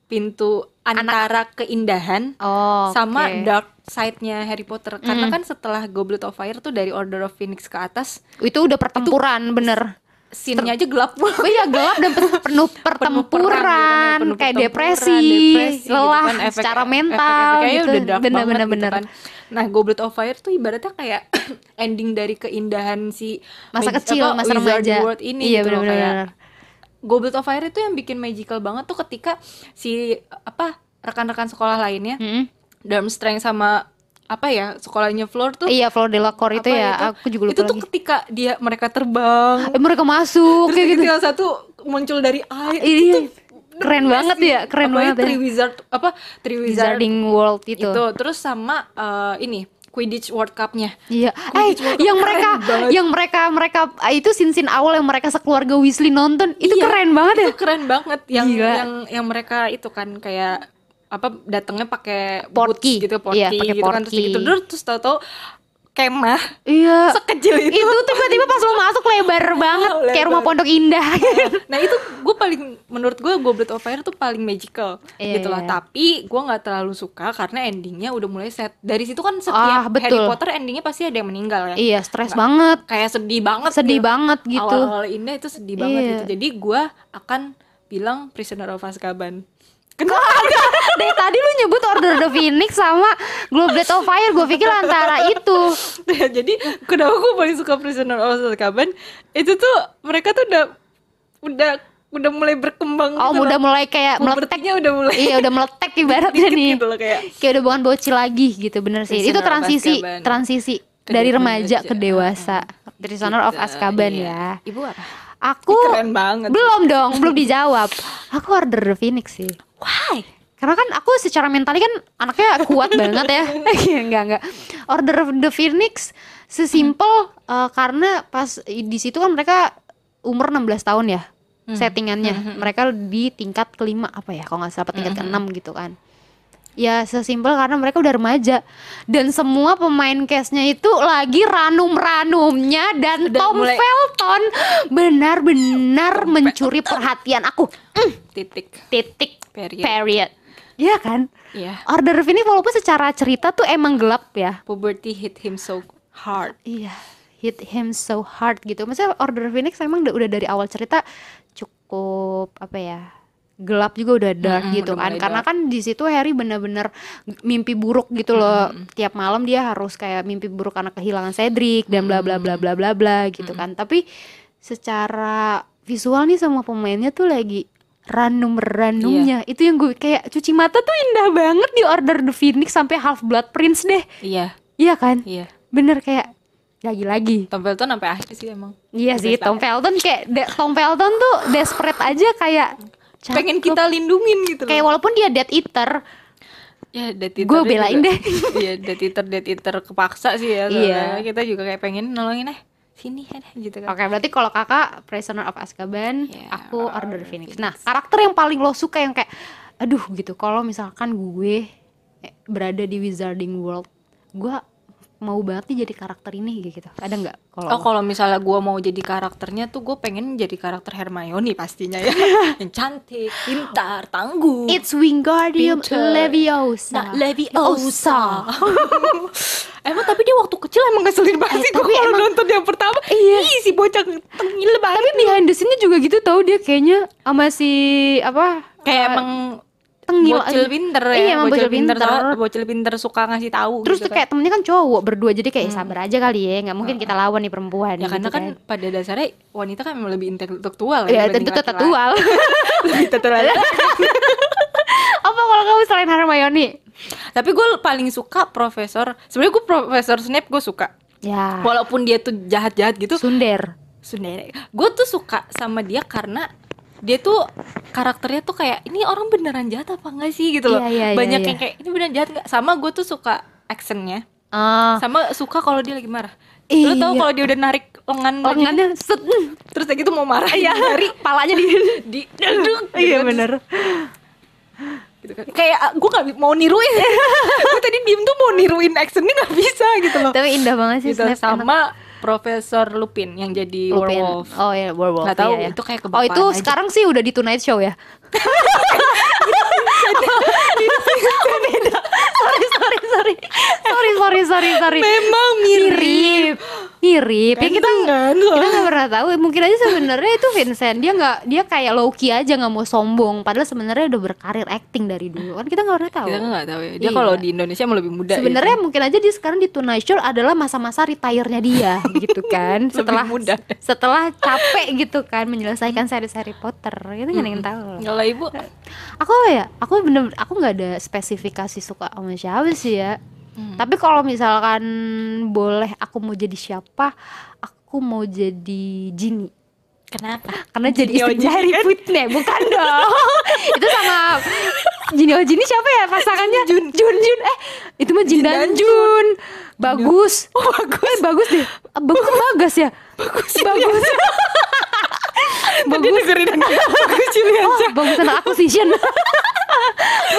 [SPEAKER 3] pintu antara keindahan
[SPEAKER 2] oh
[SPEAKER 3] sama
[SPEAKER 2] oke. Hmm.
[SPEAKER 3] dark side-nya Harry Potter karena kan
[SPEAKER 2] Mm-mm.
[SPEAKER 3] setelah Goblet of Fire tuh dari Order of Phoenix ke atas
[SPEAKER 2] itu udah pertempuran bener
[SPEAKER 3] scene-nya aja gelap banget
[SPEAKER 2] Oh iya gelap dan pe- penuh
[SPEAKER 3] penuh
[SPEAKER 2] pertempuran,
[SPEAKER 3] perang, gitu kan, penuh
[SPEAKER 2] kayak
[SPEAKER 3] pertempuran,
[SPEAKER 2] depresi,
[SPEAKER 3] depresi gitu
[SPEAKER 2] lelah
[SPEAKER 3] kan, efek-
[SPEAKER 2] secara
[SPEAKER 3] efek-
[SPEAKER 2] mental
[SPEAKER 3] efek-efeknya
[SPEAKER 2] gitu.
[SPEAKER 3] udah dark
[SPEAKER 2] bener
[SPEAKER 3] banget
[SPEAKER 2] bener
[SPEAKER 3] gitu
[SPEAKER 2] bener.
[SPEAKER 3] kan. Nah, Goblet of Fire tuh ibaratnya kayak ending dari keindahan si
[SPEAKER 2] Masa
[SPEAKER 3] magi-
[SPEAKER 2] kecil,
[SPEAKER 3] apa,
[SPEAKER 2] masa
[SPEAKER 3] Wizard
[SPEAKER 2] remaja.
[SPEAKER 3] World ini
[SPEAKER 2] iya
[SPEAKER 3] gitu
[SPEAKER 2] bener
[SPEAKER 3] loh,
[SPEAKER 2] bener.
[SPEAKER 3] kayak
[SPEAKER 2] bener.
[SPEAKER 3] Goblet of Fire itu yang bikin magical banget tuh ketika si apa rekan-rekan sekolah lainnya
[SPEAKER 2] Mm-mm.
[SPEAKER 3] Durmstrang sama apa ya sekolahnya Floor tuh
[SPEAKER 2] Iya Flor Delacour itu
[SPEAKER 3] apa
[SPEAKER 2] ya, aku juga lupa
[SPEAKER 3] itu tuh
[SPEAKER 2] lagi.
[SPEAKER 3] ketika dia mereka terbang
[SPEAKER 2] Eh, mereka masuk
[SPEAKER 3] Terus
[SPEAKER 2] kayak gitu.
[SPEAKER 3] yang satu muncul dari air.
[SPEAKER 2] Iya,
[SPEAKER 3] Itu
[SPEAKER 2] iya. Keren
[SPEAKER 3] gila
[SPEAKER 2] banget
[SPEAKER 3] sih.
[SPEAKER 2] ya, keren
[SPEAKER 3] Apalagi
[SPEAKER 2] banget ya.
[SPEAKER 3] Three Wizard apa Three Wizard
[SPEAKER 2] Wizarding World itu.
[SPEAKER 3] itu. Terus sama eh, ini Quidditch World Cup-nya.
[SPEAKER 2] Iya, eh
[SPEAKER 3] Quidditch World Cup
[SPEAKER 2] yang
[SPEAKER 3] keren
[SPEAKER 2] mereka
[SPEAKER 3] banget.
[SPEAKER 2] yang mereka mereka eh, itu sin-sin awal yang mereka sekeluarga Weasley nonton, itu
[SPEAKER 3] Iya,
[SPEAKER 2] keren banget ya.
[SPEAKER 3] Itu keren banget yang
[SPEAKER 2] Gila.
[SPEAKER 3] yang yang mereka itu kan kayak apa datangnya pakai
[SPEAKER 2] Portkey.
[SPEAKER 3] boots gitu portkey
[SPEAKER 2] Iya, pakai
[SPEAKER 3] gitu kan terus
[SPEAKER 2] portkey.
[SPEAKER 3] gitu terus, terus tahu-tahu kemah
[SPEAKER 2] Iya.
[SPEAKER 3] sekecil itu.
[SPEAKER 2] Itu tiba-tiba pas lo masuk lebar banget kayak
[SPEAKER 3] Lebar.
[SPEAKER 2] rumah pondok indah.
[SPEAKER 3] nah itu gue paling menurut gue Goblet of Fire tuh paling magical
[SPEAKER 2] Iya,
[SPEAKER 3] gitu lah
[SPEAKER 2] iya.
[SPEAKER 3] tapi gue nggak terlalu suka karena endingnya udah mulai set dari situ kan
[SPEAKER 2] Ah,
[SPEAKER 3] setiap Harry
[SPEAKER 2] betul.
[SPEAKER 3] Potter endingnya pasti ada yang meninggal ya
[SPEAKER 2] iya, stres
[SPEAKER 3] Nggak.
[SPEAKER 2] banget.
[SPEAKER 3] kayak sedih banget
[SPEAKER 2] sedih
[SPEAKER 3] gitu.
[SPEAKER 2] banget gitu.
[SPEAKER 3] awal-awal indah itu sedih banget
[SPEAKER 2] Iya.
[SPEAKER 3] gitu jadi gue akan bilang Prisoner of Azkaban
[SPEAKER 2] Dari tadi lu nyebut Order the Phoenix sama Goblet of Fire, gue pikir antara itu.
[SPEAKER 3] Gitu jadi kenapa gue paling suka Prisoner of Azkaban itu tuh mereka tuh udah udah udah mulai berkembang
[SPEAKER 2] Oh,
[SPEAKER 3] gitu
[SPEAKER 2] udah
[SPEAKER 3] loh.
[SPEAKER 2] mulai kayak meletek.
[SPEAKER 3] Pubertinya udah mulai
[SPEAKER 2] Iya, udah meletek ibaratnya
[SPEAKER 3] dikit
[SPEAKER 2] nih.
[SPEAKER 3] gitu loh kayak
[SPEAKER 2] Kayak udah bukan bocil lagi gitu, bener sih.
[SPEAKER 3] Prisoner
[SPEAKER 2] Itu
[SPEAKER 3] of
[SPEAKER 2] transisi,
[SPEAKER 3] Azkaban.
[SPEAKER 2] transisi
[SPEAKER 3] Ke
[SPEAKER 2] dari
[SPEAKER 3] dewasa.
[SPEAKER 2] remaja ke dewasa. Prisoner of
[SPEAKER 3] Gitu,
[SPEAKER 2] Azkaban
[SPEAKER 3] iya.
[SPEAKER 2] ya.
[SPEAKER 3] Ibu apa?
[SPEAKER 2] Aku
[SPEAKER 3] Keren banget.
[SPEAKER 2] belum dong, belum dijawab. Aku Order the Phoenix sih.
[SPEAKER 3] Why?
[SPEAKER 2] Karena kan aku secara mentalnya kan anaknya kuat banget ya. Iya, enggak enggak. Order of the Phoenix sesimpel eh, karena pas di situ kan mereka umur 16 tahun ya. Settingannya mereka di tingkat kelima apa ya kalau nggak salah apa tingkat keenam gitu kan. Ya sesimpel karena mereka udah remaja dan semua pemain case-nya itu lagi ranum-ranumnya dan,
[SPEAKER 3] Dan
[SPEAKER 2] Tom
[SPEAKER 3] mulai-
[SPEAKER 2] Felton benar-benar mencuri perhatian aku. Mm,
[SPEAKER 3] titik
[SPEAKER 2] titik
[SPEAKER 3] period
[SPEAKER 2] period. Iya kan?
[SPEAKER 3] Iya.
[SPEAKER 2] Order of ini walaupun secara cerita tuh emang gelap ya.
[SPEAKER 3] Puberty hit him so hard.
[SPEAKER 2] Iya, hit him so hard gitu. Maksudnya Order of Phoenix emang udah, udah dari awal cerita cukup apa ya? gelap juga udah dark
[SPEAKER 3] Mm-mm,
[SPEAKER 2] gitu
[SPEAKER 3] udah
[SPEAKER 2] kan
[SPEAKER 3] mulai
[SPEAKER 2] karena kan di situ Harry bener-bener mimpi buruk gitu loh tiap malam dia harus kayak mimpi buruk karena kehilangan Cedric dan bla bla bla bla bla bla gitu kan tapi secara visual nih semua pemainnya tuh lagi ranum
[SPEAKER 3] Iya.
[SPEAKER 2] ranumnya itu yang gue kayak cuci mata tuh indah banget di Order the Phoenix sampai Half Blood Prince deh
[SPEAKER 3] Iya,
[SPEAKER 2] iya kan
[SPEAKER 3] iya.
[SPEAKER 2] bener kayak lagi-lagi
[SPEAKER 3] Tom Felton sampai akhir sih emang.
[SPEAKER 2] iya
[SPEAKER 3] Udah
[SPEAKER 2] sih Tom Felton kayak de- Tom Felton tuh desperate aja kayak cakep.
[SPEAKER 3] Pengen kita lindungin gitu
[SPEAKER 2] kayak
[SPEAKER 3] loh.
[SPEAKER 2] walaupun dia dead eater
[SPEAKER 3] Ya, dead eater
[SPEAKER 2] Gua
[SPEAKER 3] juga.
[SPEAKER 2] belain deh.
[SPEAKER 3] Iya, dead eater, dead eater kepaksa sih ya.
[SPEAKER 2] Iya.
[SPEAKER 3] soalnya Kita juga kayak pengen nolongin eh sini eh gitu kan.
[SPEAKER 2] oke berarti kalau kakak Prisoner of Azkaban
[SPEAKER 3] Iya,
[SPEAKER 2] aku
[SPEAKER 3] Order
[SPEAKER 2] Order
[SPEAKER 3] Phoenix.
[SPEAKER 2] Phoenix nah karakter yang paling lo suka yang kayak aduh gitu kalau misalkan gue eh, berada di Wizarding World gue mau banget nih jadi karakter ini gitu ada nggak kalau
[SPEAKER 3] Oh
[SPEAKER 2] lo?
[SPEAKER 3] kalau misalnya gua mau jadi karakternya tuh gue pengen jadi karakter Hermione pastinya ya Yang cantik, pintar, tangguh
[SPEAKER 2] It's Wingardium
[SPEAKER 3] Pinter. Nah,
[SPEAKER 2] Leviosa
[SPEAKER 3] Leviosa Emang tapi dia waktu kecil emang ngeselin banget
[SPEAKER 2] Eh,
[SPEAKER 3] sih Gue
[SPEAKER 2] tapi
[SPEAKER 3] kalau
[SPEAKER 2] emang-
[SPEAKER 3] nonton yang pertama
[SPEAKER 2] Iya.
[SPEAKER 3] Ih si bocah tengil banget
[SPEAKER 2] tapi behind the scene-nya juga gitu tau dia kayaknya sama si apa
[SPEAKER 3] Kayak
[SPEAKER 2] eh,
[SPEAKER 3] emang
[SPEAKER 2] tengil
[SPEAKER 3] bocil
[SPEAKER 2] aja.
[SPEAKER 3] pinter ya
[SPEAKER 2] Iya, emang bocil pinter.
[SPEAKER 3] soal- Bocil pinter suka ngasih tahu
[SPEAKER 2] terus
[SPEAKER 3] gitu
[SPEAKER 2] tuh kayak temennya kan cowok berdua jadi kayak "Ya, sabar aja kali ya nggak mungkin kita lawan nih perempuan
[SPEAKER 3] Ya karena
[SPEAKER 2] gitu
[SPEAKER 3] kan pada dasarnya wanita kan memang lebih intelektual dibanding
[SPEAKER 2] ya tentu
[SPEAKER 3] laki-laki.
[SPEAKER 2] tetual
[SPEAKER 3] Lebih tetual
[SPEAKER 2] apa kalau kamu selain Hermione
[SPEAKER 3] Tapi gue paling suka Profesor sebenarnya gue Profesor Snape gue suka
[SPEAKER 2] ya
[SPEAKER 3] walaupun dia tuh jahat-jahat gitu
[SPEAKER 2] Sunder
[SPEAKER 3] sebenarnya gue tuh suka sama dia karena dia tuh karakternya tuh kayak ini orang beneran jahat apa enggak sih gitu loh
[SPEAKER 2] Iya, iya, iya,
[SPEAKER 3] banyak
[SPEAKER 2] iya.
[SPEAKER 3] yang kayak ini beneran jahat nggak sama gue tuh suka actionnya
[SPEAKER 2] ah
[SPEAKER 3] sama suka kalau dia lagi marah
[SPEAKER 2] Iya.
[SPEAKER 3] lo tau kalau dia udah narik lengan lengan
[SPEAKER 2] lengannya Oh, set
[SPEAKER 3] terus kayak gitu mau marah ya dari
[SPEAKER 2] palanya di
[SPEAKER 3] di aduh, gitu
[SPEAKER 2] iya
[SPEAKER 3] kan.
[SPEAKER 2] bener
[SPEAKER 3] Gitu kan. kayak gue nggak bi- mau niruin gue tadi diem tuh mau niruin actionnya nggak bisa gitu loh
[SPEAKER 2] tapi indah banget sih
[SPEAKER 3] gitu,
[SPEAKER 2] Snape enak.
[SPEAKER 3] sama Profesor Lupin yang jadi
[SPEAKER 2] Lupin.
[SPEAKER 3] werewolf
[SPEAKER 2] Oh iya, werewolf.
[SPEAKER 3] Nggak tahu,
[SPEAKER 2] iya, iya.
[SPEAKER 3] itu kayak
[SPEAKER 2] Oh, itu
[SPEAKER 3] kebapaan aja.
[SPEAKER 2] sekarang sih udah di Tonight Show ya. Oh, beda. Sorry, sorry, sorry. Sorry, sorry, sorry, sorry.
[SPEAKER 3] Memang mirip.
[SPEAKER 2] mirip. Mirip. Ya kita
[SPEAKER 3] kan
[SPEAKER 2] kita nggak pernah tahu mungkin aja sebenarnya itu Vincent dia nggak dia kayak Loki aja nggak mau sombong padahal sebenarnya udah berkarir acting dari dulu kan kita nggak pernah tahu
[SPEAKER 3] Kita nggak tahu ya. Dia
[SPEAKER 2] Iya.
[SPEAKER 3] kalau di Indonesia emang lebih muda. ya.
[SPEAKER 2] sebenarnya mungkin aja dia sekarang di Tonight Show adalah masa-masa retire-nya dia gitu kan
[SPEAKER 3] Lebih
[SPEAKER 2] setelah
[SPEAKER 3] muda.
[SPEAKER 2] setelah capek gitu kan menyelesaikan seri Harry Potter kita nggak ada yang tahu
[SPEAKER 3] kalau ibu
[SPEAKER 2] aku apa ya aku bener aku nggak ada spesifikasi suka sama siapa sih ya
[SPEAKER 3] Mm.
[SPEAKER 2] tapi kalau misalkan boleh aku mau jadi siapa aku mau jadi Ginny
[SPEAKER 3] kenapa?
[SPEAKER 2] karena jadi
[SPEAKER 3] Jinio
[SPEAKER 2] istri
[SPEAKER 3] Jin,
[SPEAKER 2] dari
[SPEAKER 3] kan?
[SPEAKER 2] Putne bukan dong itu sama Jinio Jin ini siapa ya pasangannya Jun Jun, eh itu mah Jin dan
[SPEAKER 3] dan
[SPEAKER 2] Jun bagus bagus eh, bagus deh Eh, bagus apa bagas ya bagus bagus
[SPEAKER 3] Tadi dengerin bagus Julian.
[SPEAKER 2] oh, bagus anak aku Shishin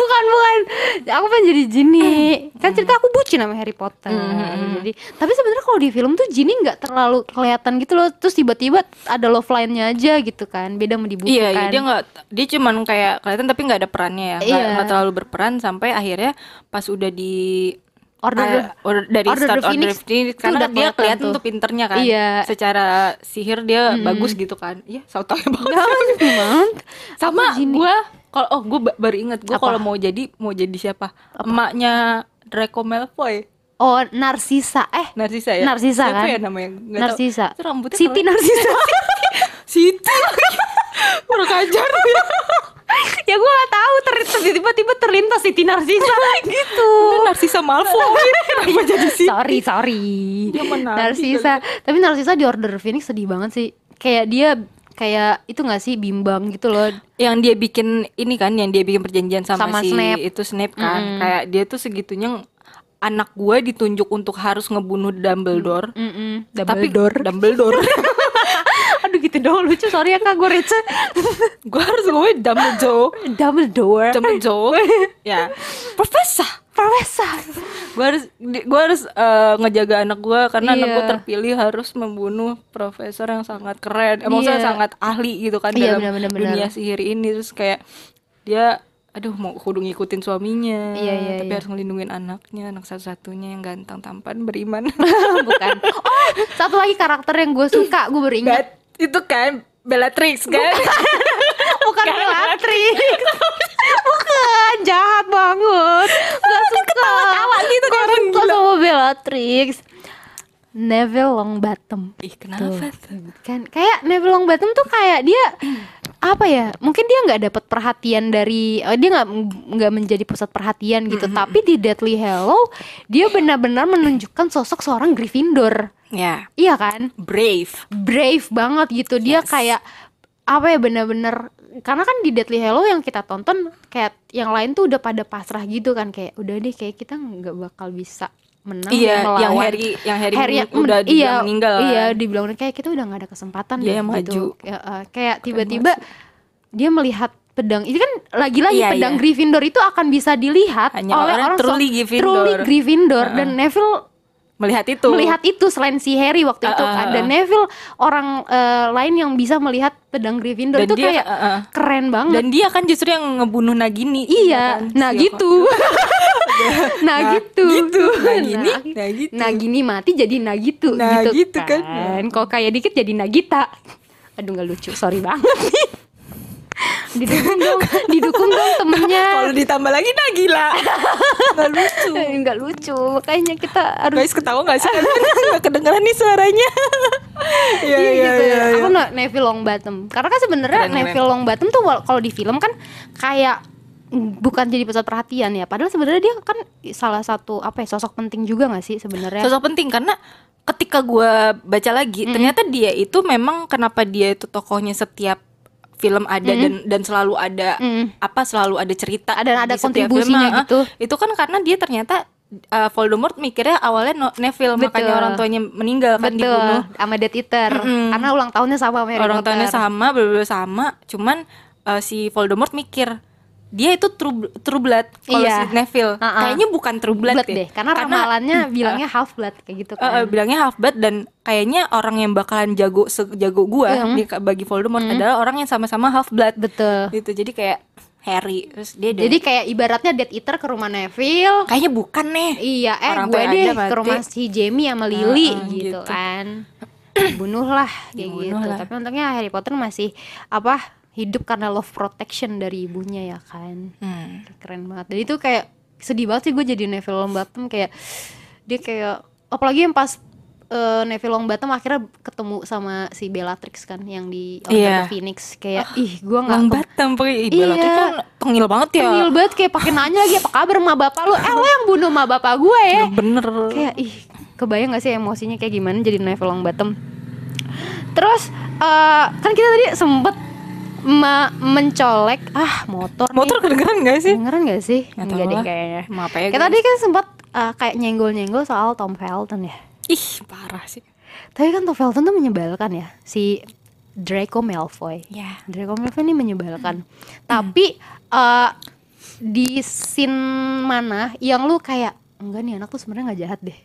[SPEAKER 2] bukan bukan aku pengen jadi Jinny kan cerita aku bucin sama Harry Potter
[SPEAKER 3] Mm-hmm.
[SPEAKER 2] jadi tapi sebenarnya kalau di film tuh Jinny nggak terlalu kelihatan gitu loh terus tiba-tiba ada love line-nya aja gitu kan beda sama di buku
[SPEAKER 3] Iya, iya
[SPEAKER 2] kan
[SPEAKER 3] dia nggak dia cuman kayak kelihatan tapi nggak ada perannya ya. Nggak
[SPEAKER 2] Iya.
[SPEAKER 3] nggak terlalu berperan sampai akhirnya pas udah di
[SPEAKER 2] Order
[SPEAKER 3] ah,
[SPEAKER 2] the-
[SPEAKER 3] order- dari
[SPEAKER 2] Order
[SPEAKER 3] start
[SPEAKER 2] the
[SPEAKER 3] order
[SPEAKER 2] Phoenix
[SPEAKER 3] the Phoenix
[SPEAKER 2] tuh
[SPEAKER 3] karena dia
[SPEAKER 2] udah kelihatan
[SPEAKER 3] kelihatan
[SPEAKER 2] tuh.
[SPEAKER 3] tuh pinternya kan.
[SPEAKER 2] Iya.
[SPEAKER 3] Secara sihir dia bagus gitu kan. Iya, so tau banget. sama gue kalau oh gue baru inget gue
[SPEAKER 2] Apa?
[SPEAKER 3] kalau mau jadi mau jadi siapa emaknya Draco Malfoy
[SPEAKER 2] Oh, Narsisa. Eh,
[SPEAKER 3] Narsisa ya
[SPEAKER 2] Narsisa
[SPEAKER 3] siapa
[SPEAKER 2] kan?
[SPEAKER 3] ya namanya Nggak tahu.
[SPEAKER 2] Narsisa.
[SPEAKER 3] itu rambutnya
[SPEAKER 2] Siti Narsisa.
[SPEAKER 3] Siti kurang ajar
[SPEAKER 2] ya gue gak tahu ter- tiba-tiba terlintas Siti Narsisa gitu.
[SPEAKER 3] Itu Narsisa Malfoy kenapa jadi Siti
[SPEAKER 2] Sorry, sorry.
[SPEAKER 3] Dia menari
[SPEAKER 2] Narsisa. Tapi Narsisa di Order Phoenix sedih banget sih. Kayak dia kayak itu gak sih bimbang gitu loh.
[SPEAKER 3] yang dia bikin ini kan yang dia bikin perjanjian sama,
[SPEAKER 2] Sama
[SPEAKER 3] si
[SPEAKER 2] Snape.
[SPEAKER 3] itu Snape kan kayak dia tuh segitunya anak gue ditunjuk untuk harus ngebunuh Dumbledore
[SPEAKER 2] Mm-mm.
[SPEAKER 3] tapi Dumbledore
[SPEAKER 2] Aduh gitu doang lucu sorry ya kak gue receh
[SPEAKER 3] gue harus ngomongin Dumbledore
[SPEAKER 2] Dumbledore
[SPEAKER 3] Dumbledore ya Profesor
[SPEAKER 2] Profesor
[SPEAKER 3] gue harus di- gua harus eh, ngejaga anak gue karena anak gue
[SPEAKER 2] Iya.
[SPEAKER 3] terpilih harus membunuh profesor yang sangat keren emang
[SPEAKER 2] Iya.
[SPEAKER 3] sangat ahli gitu kan dalam
[SPEAKER 2] Iya, benar, benar, benar.
[SPEAKER 3] dunia sihir ini terus kayak dia aduh mau kudu ngikutin suaminya
[SPEAKER 2] Iya, iya,
[SPEAKER 3] tapi
[SPEAKER 2] iya.
[SPEAKER 3] harus ngelindungin anaknya anak satu-satunya yang ganteng tampan beriman
[SPEAKER 2] bukan oh satu lagi karakter yang gue suka gue baru ingat
[SPEAKER 3] Bet- itu kan Bellatrix kan
[SPEAKER 2] bukan Bellatrix bukan jahat banget gak suka ketawa gitu gak suka sama Bellatrix Neville Longbottom
[SPEAKER 3] ih
[SPEAKER 2] Tuh.
[SPEAKER 3] kenapa tuh?
[SPEAKER 2] kan kayak Neville Longbottom tuh kayak dia apa ya mungkin dia nggak dapat perhatian dari eh, dia nggak nggak menjadi pusat perhatian gitu tapi di Deathly Hallow dia benar-benar menunjukkan sosok seorang Gryffindor
[SPEAKER 3] ya
[SPEAKER 2] iya kan
[SPEAKER 3] brave
[SPEAKER 2] brave banget gitu dia kayak apa ya bener-bener karena kan di Deadly Hallow yang kita tonton kayak yang lain tuh udah pada pasrah gitu kan kayak udah deh kayak kita nggak bakal bisa menang
[SPEAKER 3] iya
[SPEAKER 2] melawan
[SPEAKER 3] yang Harry yang Harry,
[SPEAKER 2] yang
[SPEAKER 3] men- udah
[SPEAKER 2] iya,
[SPEAKER 3] dibilang meninggal kan?
[SPEAKER 2] iya dibilang kayak kita udah nggak ada kesempatan
[SPEAKER 3] Dia
[SPEAKER 2] deh
[SPEAKER 3] yang
[SPEAKER 2] gitu.
[SPEAKER 3] maju.
[SPEAKER 2] Ya, eh, kayak tiba-tiba dia melihat pedang itu kan lagi-lagi
[SPEAKER 3] Iya,
[SPEAKER 2] pedang
[SPEAKER 3] iya.
[SPEAKER 2] Gryffindor itu akan bisa dilihat
[SPEAKER 3] Hanya
[SPEAKER 2] oleh
[SPEAKER 3] orang
[SPEAKER 2] orang
[SPEAKER 3] truly
[SPEAKER 2] so-
[SPEAKER 3] Gryffindor.
[SPEAKER 2] truly Gryffindor. dan Neville
[SPEAKER 3] melihat itu
[SPEAKER 2] melihat itu selain si Harry waktu itu
[SPEAKER 3] Ah, ah,
[SPEAKER 2] kan
[SPEAKER 3] ah.
[SPEAKER 2] dan Neville orang eh, lain yang bisa melihat pedang
[SPEAKER 3] Dan
[SPEAKER 2] Gryffindor itu
[SPEAKER 3] dia,
[SPEAKER 2] kayak
[SPEAKER 3] ah, ah.
[SPEAKER 2] keren banget
[SPEAKER 3] dan dia kan justru yang ngebunuh Nagini
[SPEAKER 2] Mm. iya
[SPEAKER 3] kan?
[SPEAKER 2] nah
[SPEAKER 3] Si
[SPEAKER 2] gitu nah
[SPEAKER 3] Nah,
[SPEAKER 2] gitu
[SPEAKER 3] gitu. Nagini,
[SPEAKER 2] Nah,
[SPEAKER 3] nah gitu.
[SPEAKER 2] Nagini mati jadi nah gitu
[SPEAKER 3] Nah, gitu
[SPEAKER 2] gitu
[SPEAKER 3] kan.
[SPEAKER 2] kalau kayak dikit jadi Nagita aduh nggak lucu sorry banget nih didukung dong didukung dong temennya
[SPEAKER 3] Kalau ditambah lagi nah gila. Nggak lucu.
[SPEAKER 2] Eh, nggak lucu makanya kita harus
[SPEAKER 3] Guys ketawa nggak sih? Nggak kedengeran nih suaranya. Iya
[SPEAKER 2] Iya
[SPEAKER 3] iya
[SPEAKER 2] gitu.
[SPEAKER 3] iya.
[SPEAKER 2] Aku no, Neville Longbottom. Karena kan sebenarnya
[SPEAKER 3] Keren,
[SPEAKER 2] Neville Longbottom tuh wal- kalau di film kan kayak mm, bukan jadi pusat perhatian ya. Padahal sebenarnya dia kan salah satu apa ya sosok penting juga nggak sih sebenarnya?
[SPEAKER 3] Sosok penting karena ketika gua baca lagi ternyata dia itu memang kenapa dia itu tokohnya setiap film ada dan dan selalu ada
[SPEAKER 2] Mm.
[SPEAKER 3] apa selalu ada cerita
[SPEAKER 2] Ada-
[SPEAKER 3] di
[SPEAKER 2] ada
[SPEAKER 3] setiap
[SPEAKER 2] kontribusinya
[SPEAKER 3] film, ah, ah.
[SPEAKER 2] gitu.
[SPEAKER 3] itu kan karena dia ternyata uh, Voldemort mikirnya awalnya no- Neville makanya
[SPEAKER 2] Betul.
[SPEAKER 3] orang tuanya meninggal kan dibunuh
[SPEAKER 2] Betul. Sama Death Eater.
[SPEAKER 3] Mm-mm.
[SPEAKER 2] Karena ulang tahunnya sama ya, sama Harry
[SPEAKER 3] orang tuanya
[SPEAKER 2] Potter.
[SPEAKER 3] sama berdua sama cuman uh, si Voldemort mikir dia itu true, true blood kalau
[SPEAKER 2] Iya.
[SPEAKER 3] si Neville
[SPEAKER 2] Uh-uh.
[SPEAKER 3] kayaknya bukan true blood,
[SPEAKER 2] Blood deh. Karena, ramalannya bilangnya half blood kayak gitu
[SPEAKER 3] uh, uh,
[SPEAKER 2] kan.
[SPEAKER 3] bilangnya half blood dan kayaknya orang yang bakalan jago sejago gua di- bagi Voldemort adalah orang yang sama-sama half blood
[SPEAKER 2] Iya. Betul.
[SPEAKER 3] gitu jadi kayak Harry terus dia udah,
[SPEAKER 2] Jadi kayak ibaratnya Death Eater ke rumah Neville.
[SPEAKER 3] kayaknya bukan nih
[SPEAKER 2] Iya, eh
[SPEAKER 3] Orang
[SPEAKER 2] gue
[SPEAKER 3] tuanya
[SPEAKER 2] deh
[SPEAKER 3] aja mati.
[SPEAKER 2] ke rumah si Jamie sama Lily
[SPEAKER 3] Heeh,
[SPEAKER 2] gitu,
[SPEAKER 3] gitu.
[SPEAKER 2] kan. Bunuhlah kayak
[SPEAKER 3] Dibunuh
[SPEAKER 2] gitu.
[SPEAKER 3] lah.
[SPEAKER 2] Tapi untungnya Harry Potter masih apa hidup karena love protection dari ibunya ya kan.
[SPEAKER 3] Hmm.
[SPEAKER 2] Keren banget. Dan itu kayak sedih banget sih gue jadi Neville Longbottom kayak dia kayak apalagi yang pas eh, Neville Longbottom akhirnya ketemu sama si Bellatrix kan yang di Order
[SPEAKER 3] Iya.
[SPEAKER 2] of Phoenix kayak ih gue nggak
[SPEAKER 3] Lang Batam Pri. Ih,
[SPEAKER 2] Iya.
[SPEAKER 3] Bella tuh kan tengil banget ya
[SPEAKER 2] Tengil banget kayak pakai nanya lagi apa kabar sama bapak lu? Eh lo yang bunuh sama bapak gue ya
[SPEAKER 3] bener
[SPEAKER 2] kayak ih kebayang gak sih emosinya kayak gimana jadi Neville Longbottom terus eh, kan kita tadi sempet me- mencolek ah motor nih.
[SPEAKER 3] motor kedengeran gak sih
[SPEAKER 2] dengeran gak sih
[SPEAKER 3] Nggak
[SPEAKER 2] Nggak
[SPEAKER 3] tahu
[SPEAKER 2] deh
[SPEAKER 3] lah.
[SPEAKER 2] kayaknya
[SPEAKER 3] Maaf ya,
[SPEAKER 2] kita
[SPEAKER 3] guys.
[SPEAKER 2] tadi kan sempet eh, kayak nyenggol-nyenggol soal Tom Felton ya
[SPEAKER 3] ih parah sih
[SPEAKER 2] tapi kan Tom Felton tuh menyebalkan ya si Draco Malfoy
[SPEAKER 3] ya
[SPEAKER 2] Draco Malfoy ini menyebalkan. Tapi eh, di scene mana yang lu kayak enggak nih anak tuh sebenarnya nggak jahat deh.